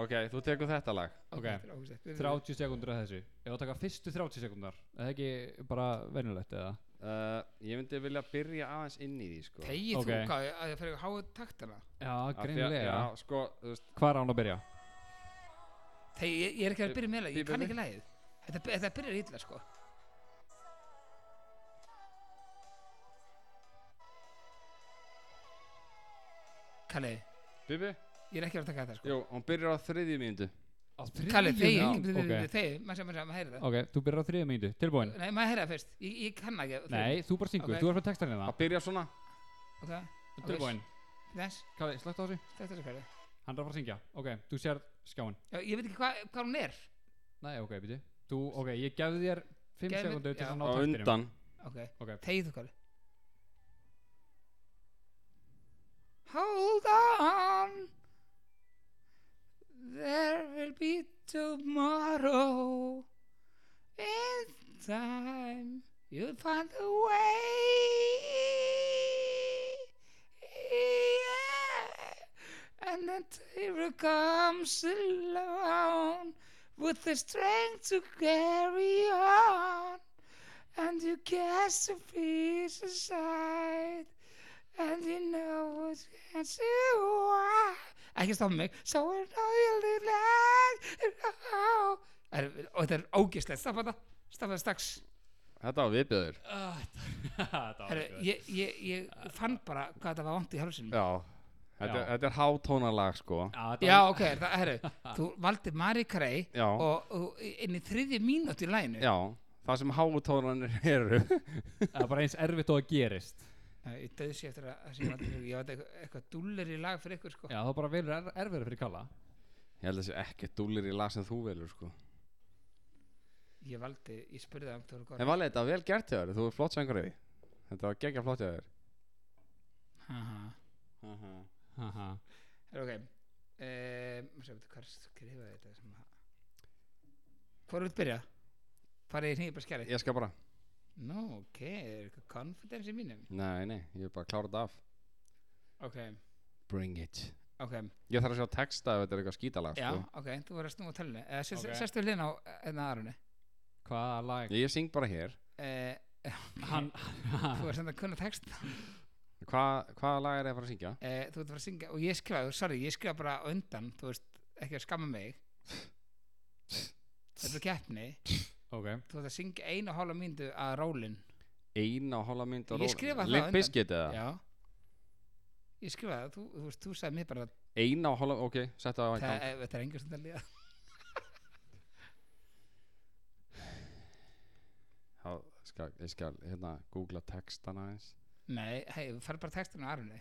B: Ok, þú tekur þetta lag
A: Ok.
C: þetta er ógeðslegt. Við-
A: 30 sekundur af þessu Ef það taka fyrstu 30 sekundar Það er ekki bara venjulegt eða?
B: uh, Ég myndi vilja byrja aðeins inn í því sko
C: Þegið
A: Ok.
C: þú hvað, að það fyrir að háa taktana
A: Já,
B: Af því að-
A: greinilega
B: Já, sko, þú veist
A: Hvar á hann að byrja?
C: Þegi, ég, ég er ekki að byrja með leið,
B: Bíddu,
C: ég kann
B: bíddu.
C: ekki leið Þetta, þetta byrjar illa sko Kalli,
B: Bibi?
C: ég er ekki að taka þetta sko sko.
B: Jú, hún byrjar á þriðju mínútu
A: Ó, á þriðju
C: Kalli, þegi,
A: mínútu?
C: þegi, þegi, maður sem maður heyri það
A: Ok, ok, þú byrjar á þriðja mínútu, tilbúin
C: Nei, maður heyri það fyrst, ég, ég kann ekki þriðju.
A: Nei, þú bara syngur,
C: Ok.
A: þú er með textan hérna
B: Það byrjar svona
C: Ok, ok,
A: Tilbúin,
C: Þess,
A: Kalli, slögt á þessu
C: þetta er svo kæri
A: Hann er að fara að syngja, ok, þú sér skjáin
C: Já, ég veit ekki hva, hvað hún er
A: Nei, ok, býti Þú, ok, ég gefði þér 5
C: Gef mér-
A: sekundu til
C: já.
A: að ná
B: á
A: taktinum
B: undan
C: Ok,
A: Ok, <laughs>
C: þegi þú kæri Hold on There will be tomorrow In time You'll find a way Yeah. And the terror comes alone with the strength to carry on. And you cast the peace aside. And you know what can't you are. Ekki stoppa mig. So I know you'll be like. Er, og þetta er ógislegt. Stoppa þetta. Stoppa þetta strax.
B: Þetta var viðbjöður
A: Ah, Þetta var
C: Heru,
A: ekki
C: ég, ég, ég fann bara hvað þetta var vant í hálsinum.
B: Já Þetta,
A: Já.
B: þetta er hátónalag sko
A: Já, þetta
C: Já, ok, það,
B: <laughs>
C: herru, þú valdi Marie Carey
B: Já.
C: og, og inn í þriðji mínúti í læginu
B: Já Það sem hátónanir eru
A: Það er bara eins erfitt og að
C: <laughs>
A: gerist
C: Æ, Ég döðs ég eftir að þessi, ég valdi, ég valdi eitthvað, eitthvað dúlleri lag fyrir ykkur sko
A: Já, það er bara velur er, erfið fyrir Kalla
B: Ég held að þessi ekki dúlir í lag sem þú velur sko
C: Ég valdi, ég spurði það um
B: En valið þetta var vel gert hjá þér Þú er flott söngur í því. Þetta var geggja flott hjá þér
C: Haha,
A: Haha.
C: ok um, Sjá, veitir, hvað er skrifaði þetta sem að Hvor vil byrja? Farið í hringið bara skjæri
B: Ég skal bara
C: Nú, ok, er eitthvað confidence í mínum
B: Nei, nei, ég er bara að klára þetta af
C: Ok,
B: Bring it
C: ok,
B: Ég þarf að sjá texta ef þetta er eitthvað skítalag
C: já,
B: sko.
C: ok, þú verður að snúa tölunni Eða, sest,
A: Ok.
C: okay. Sestu hliðin á einna aðrunni
A: Hvaða lag
B: Ég syng bara hér
C: uh,
A: Hann
C: Þú verður samt að kunna text
B: Hva, Hvaða lag er ég að fara að syngja?
C: uh, þú ert að fara að syngja og ég skrifaði, sorry, ég skrifaði bara á undan þú veist, ekki að skamma mig þetta er keppni
A: Ok
C: þú ert að syngja einu og hálfa myndu að rólin
B: Eina og hálfa mynd
C: Ég skrifa það á
B: Limp
C: undan.
B: Bizkit eða?
C: já ég skrifaði, það, þú, þú veist, þú sagði mér bara að
B: Eina og hálfa, ok, setja það á
C: það-
B: einhvern
C: eh, þetta er engur sem það liða
B: Já, skal, ég skal hérna googla textana eins
C: nei, hei, þú farið bara textinu á arunni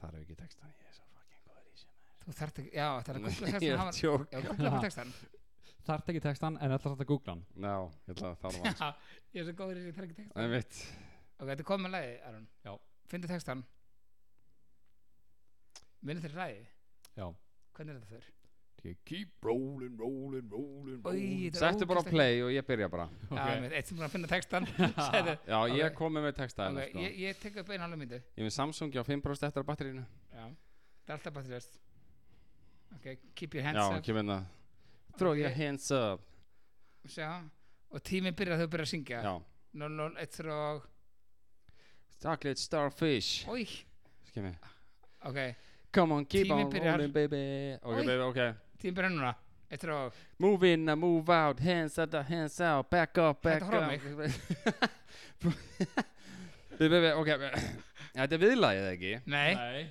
B: Þar er ekki textana, ég er svo fucking góður í sem
C: þú þarft ekki, já, það
B: <laughs>
C: er að googla
B: Ég
C: textinu
B: er
C: hafa-
B: tjók
C: já, googla bara textan
A: Þart ekki textan en ætla samt að googla hann
B: Ná, ég ætla að þarf að
C: ég er svo góður í þessu, ég þarf ekki textan
B: Það er mitt
C: ok, þetta er komið með lagi, Arun
A: Já.
C: fyndu textan minnum þér lagi,
A: Já
C: hvernig er þetta þurr?
A: Keep rolling, rolling, rolling,
C: Oj, þetta er
B: Settu bara á
C: ógeðslegt.
B: play og ég byrja bara
A: Ok.
C: Já, einmitt, eitt sem búin að finna textan Sæðu,
B: Já, ég
C: Ok.
B: okay. komi með texta
C: ok,
B: okay, sko.
C: ég,
B: ég...
C: ég tek upp einu halva myndu
B: er með Samsung á 5% eftir að batterínu
C: Já, það er alltaf bara þrjöst Ok, keep your hands
B: Já,
C: up
B: ekki minna Throw your
C: Ok.
B: hands up
C: Sjá, og tíminn byrjar að þau byrja að syngja
B: Já
C: 0-0, 1 og
B: Chocolate starfish
C: Ói,
B: Skimmi
C: ok,
B: Come on, keep
C: Tíminn
B: on
C: byrjar.
B: rolling baby Ok,
C: Oj.
B: baby, ok
C: tíminn byrjar núna 1 og
B: Move in and move out, hands up, hands out, back up, back
C: Hættu að horfa á
B: up <laughs> Við, við, við, ok <clears throat> Þetta er viðlagið eða ekki
C: Nei,
A: Nei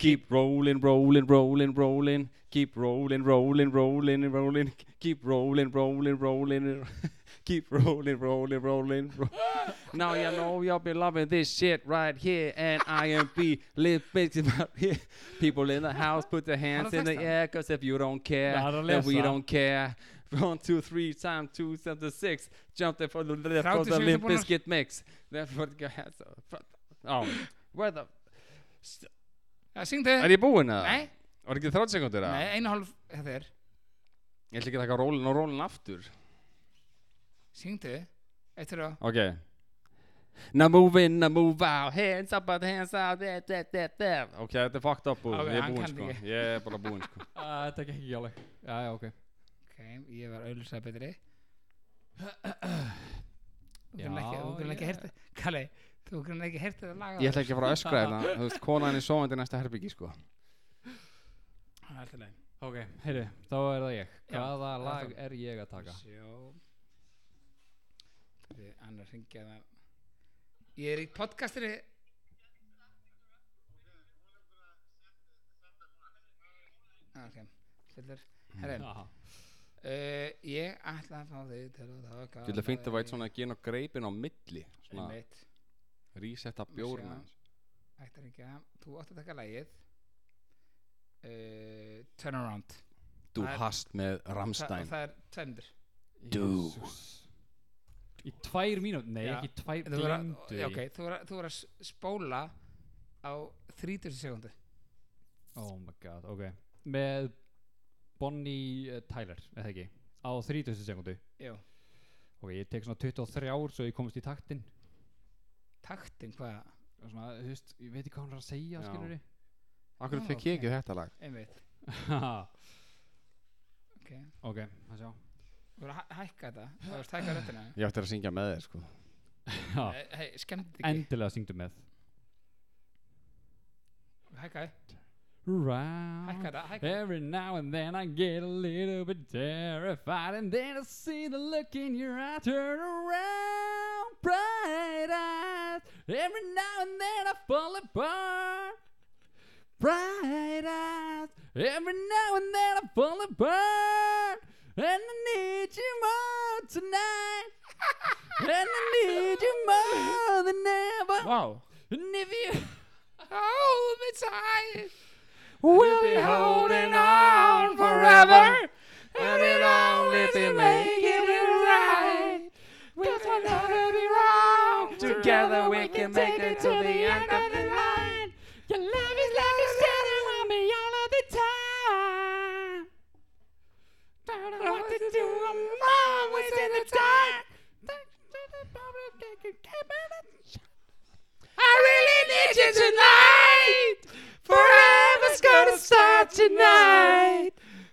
B: Keep rolling, rolling, rolling, rolling Keep rolling, rolling, rolling, rolling Keep rolling, rolling, rolling <laughs> Keep rolling, rolling, rolling ro- <laughs> Now you know you'll be loving this shit right here And I am be <laughs> living up here People in the house put their hands in the air Cause if you don't care
A: Nei, hann er að
B: Then we
A: lesa.
B: don't care <laughs> One, two, three, time, two, seven, six Jump the for the for the
C: 37
B: Limp
C: búnar.
B: Bizkit mix <laughs> Therefore your hands up front. Oh, where the
C: það syngdu
B: Er ég búinn að
C: Nei,
B: Var ekki 30 sekundur að?
C: nei, einu halv Þetta er,
B: Ég ætla ekki að taka rólinn og rólinn aftur
C: syngdu 1 og
B: Ok Now move in, now move out Hands up, hands up yeah, yeah, yeah, yeah. Ok, þetta er fucked up búinn
C: Ok,
B: Ég
C: hann
B: er búinn
C: kann
B: sko
C: ekki.
B: Ég er bara búinn sko
A: Ah, Þetta gekk ekki alveg Já, já, ok
C: Ok, ég var auðvitað betri Þú
A: Já,
C: grunn ekki, þú grunn
A: ég-
C: ekki herti Kalli, þú grunn ekki herti það laga
B: Ég ætla ekki að fara að öskra þetta Þú veist, konan er sofandi í næsta herbyggi sko
C: Það er alltaf leið
A: Ok, heyrðu, þá er það ég
C: Já,
A: Hvaða
C: það er
A: lag
C: það.
A: er ég að taka?
C: Sjó Þetta er annar hringja það Ég er í podcastinu Ah, Ok, fyllir Herren,
A: Aha.
C: uh, ég ætla að fá þig til að taka
B: Þú ætla að finna að væta svona að gena greipin á milli Svona
C: Einmitt,
B: rísetta
C: Sjá.
B: bjórna hans
C: ættir ekki að Þú átt að taka lægið uh, Turnaround
B: Du
C: Það er-
B: hast með
C: Þa, og
B: Rammstein
C: það er tvendur
B: Dú.
A: Jesus. Í tvær mínútur, nei
C: Já.
A: ekki tvær
C: Þú verður að,
A: gleymdu því.
C: já, ok, þú verður að- þú verður að s- spóla á 30 sekundu
A: Oh my god, ok Með Bonnie eh, Tyler, eða ekki Á 30 sekundu
C: Jú,
A: Ok, ég tek svona 23 ár svo ég komist í taktin
C: taktin hvað
A: Og Svona, þú veist, ég veit ekki hvað hún er að segja,
B: Já.
A: skilur
B: Akkur
C: Já,
B: fekk ég
C: ok.
B: ekki þetta lag
C: Einmitt, ok
A: <laughs> Ok, það sjá
C: Þú verður að hæ- hækka þetta Þú verður að hækka röttina
B: Ég ætti að syngja með þér sko
A: Já.
C: Nei, Hei, skemmt þetta ekki
A: Endilega syngdu með
C: Hækkaði,
A: Round
C: hækkaði þetta, hækkaði
A: Every now and then I get a little bit terrified And then I see the look in your eye Turn around, bright eyes Every now and then I fall apart Bright eyes Every now and then I fall apart And I need you more tonight And I need you more than ever
C: Vá
A: And if you
C: Hold me tight
A: We'll
B: be holding on forever, and it only be making it right.
A: Cause we'll never be
B: wrong.
A: Together we can make it to the end of the line. Your love is like a shadow on me all of the time. Don't know what to do, I'm always in the dark. I really need you tonight. Forever's gonna start tonight.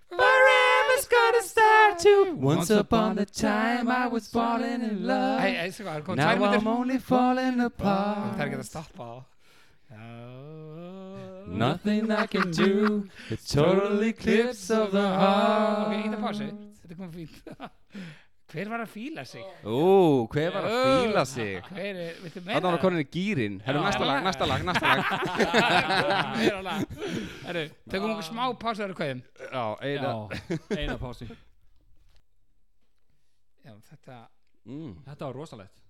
A: Forever's gonna start to. Once upon a time I was falling in love.
C: Hei, hei, sko, það er komið
B: Now
C: tvær
B: I'm
C: myndir
B: only falling
C: Það er
B: apart
C: ekki að stoppa á
B: Nothing I
A: <laughs>
B: can do <laughs> It's total eclipse of the
C: Ok,
B: heart
C: eitt að pásu Þetta er komið fínt <laughs> Hver var að fíla sig?
B: Ú, hver var að
C: Jú.
B: fíla sig?
C: Hver er, viltu meira?
B: Þannig var konin í gýrin Herru,
C: Já.
B: næsta lag, næsta lag, næsta
A: <laughs>
B: lag
C: Meira lag Herru, tökum
B: Ah.
C: okkur smá pásu Það eru kveðum
B: Já, eina <laughs>
A: eina pási
C: Já, þetta,
B: mm.
A: Þetta var rosalegt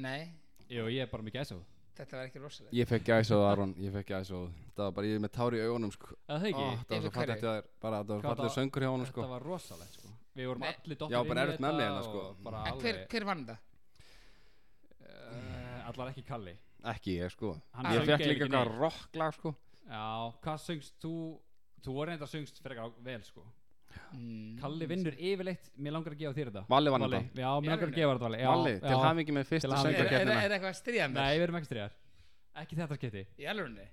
C: nei,
A: Jú, ég er bara mikið æsaf
C: þetta var ekki rosalega
B: Ég fekk gæsóð, Aron, ég fekk gæsóð Það var bara, ég er með tári í augunum sko
A: Það
B: Ó,
A: ekki?
B: Það var
C: Yfir
B: svo
C: hverju?
B: fallið þér Bara, það
A: Hvað
B: var fallið
A: það-
B: söngur hjá honum sko
A: Þetta var rosalegt sko Við vorum
C: Nei.
A: allir dottir
B: Já, bara erfitt með mig hérna, sko.
A: Bara
C: En hver,
A: alveg
C: hver vann þetta?
A: uh, Allar ekki Kalli
B: Ekki ég sko
A: Hann
B: Ég
A: söng
B: fekk
A: eiginlega Ah,
B: líka
A: ekki
B: eitthvað
A: neitt.
B: rocklag sko
A: Já, hvað söngst þú? Þú var reynda söngst frekar á- vel sko
C: Mm.
A: Kalli vinnur yfirleitt Mér langar að gefa þér þetta
B: Valli vann
A: Valli,
B: þetta
A: Já, mér langar að gefa þetta Valli Já,
B: Valli, til
A: já.
B: hamingi með
A: Til
B: fyrstu
A: hamingju.
C: Er, er, er
B: söngakefnina
C: er eitthvað að stríða
A: Nei,
C: mér?
A: við erum ekki stríðar Ekki þetta skipti
C: Í alvörunni?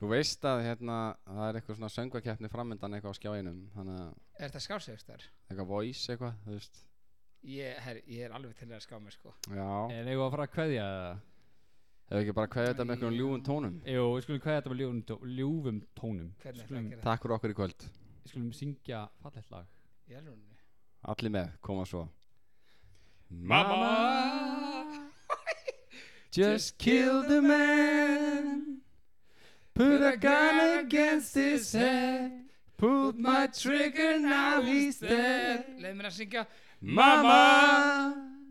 B: Þú veist að hérna, það er eitthvað svona söngakefni framöndan eitthvað á skjáinum Þannig að
C: Er þetta skásegust þar?
B: eitthvað voice eitthvað, þú veist
C: Ég, her, ég er alveg til að ská mér sko
B: Já,
A: En Eh, eigum við að fara að kveðja það?
B: hefur ekki bara kveðið þetta með eitthvað ljúfum tónum
A: Jú, við skulum kveðja þetta með ljúfum, tó- ljúfum tónum
C: Hvernig er það
A: skulum,
C: að gera
B: Takk fyrir okkur í kvöld,
A: Við skulum syngja fallegt <laughs> lag
C: það? Í alvörunni?
B: allir með, koma svo just killed a man Put a gun against his head Pulled my trigger, now he's dead
C: Leð mér að syngja
B: Mama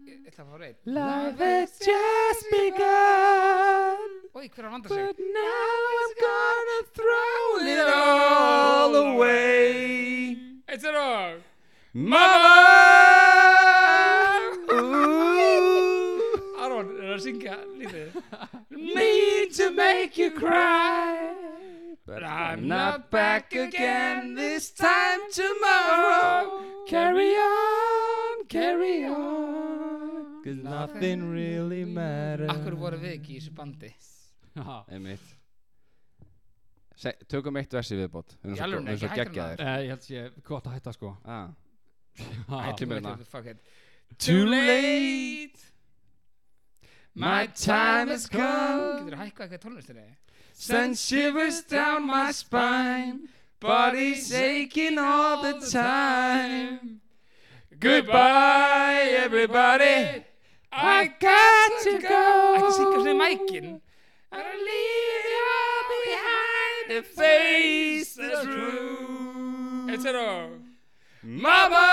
C: Ég ég ætla að fá reynd
B: Life has just begun
C: Ói, hver er að vanda sig?
B: now I'm gonna throw it all away.
C: Eitt er og
B: Mama! Ooh,
C: Aron, er að syngja lítið
B: mean to make you cry. But I'm not back again this time tomorrow. Carry on, carry on. Cause nothing really matters.
C: Akkur voru við ekki í þessu bandi
A: Já.
B: Einmitt Se, Tökum eitt versi viðbót Við
C: Í alvörunni,
B: erum svo
C: ekki hættur
B: geggja
C: með
B: þér
A: Eh, Ég held sé gott að hætta
B: <laughs>
A: sko
B: ah.
A: Já.
B: Ætlum við
C: Þú
B: hérna.
C: veit, fuck it.
B: Too late My time has come
C: Getur þú hækkað eitthvað í tónlistinni?
B: Send shivers down my spine Body's aching all the time Goodbye everybody I got to go
C: Ekki syngja svona í mækin
B: I'll leave you all behind and face the truth
C: Eitt er og
B: Mamma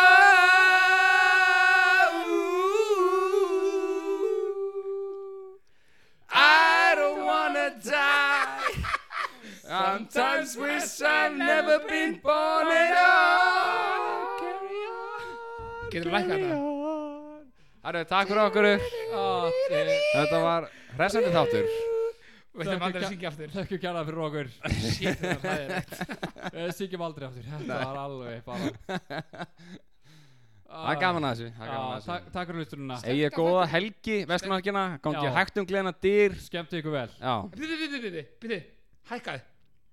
B: I don't wanna die Sometimes wish I've never been born at all Carry on
C: Geturðu lækkað
B: carry
C: þetta?
B: on. Herru, takk fyrir okkur
A: Ó, þið-
B: Þetta var hressandi þáttur
C: Við þurfum
A: Þakka
C: aldrei að
A: kja-
C: syngja aftur
A: Þökkum kjærlega fyrir
B: <laughs>
A: okkur
C: Shit, það er hræðilegt.
A: Við syngjum Eh, aldrei aftur Þetta var alveg bara
B: Það er gaman að þessu
A: Já,
B: það er gaman að þessu.
A: takk- Takk fyrir hlustununa
B: Egið góða helgi, vestlunarkina Gangi
A: Já.
B: hægt um gleðina dyr
A: Skemmtu ykkur vel
B: Já,
C: Bíddu, bíddu, bíddu, bíddu. Hækkaðu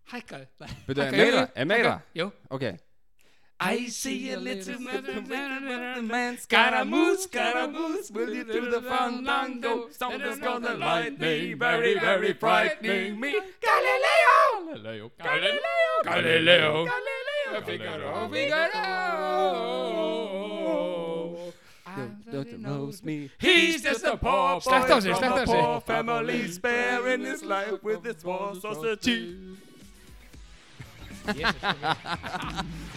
C: Hækkaðu
B: byrju, er
C: Hækkaðu.
B: meira, er meira
C: Jú
B: Ok
C: I see a little
B: man
C: Scaramouche, Scaramouche, will you do the fandango? Something's gonna light me, very, very frightening
B: me
A: Galileo Galileo Galileo
B: Galileo
C: Galileo
A: Figaro,
C: Figaro
B: Nobody knows me
C: He's just a poor boy Slekta á sig,
B: from
C: slekta á
B: a
C: sig
B: poor family sparing his life with his war sausage
C: Jesus,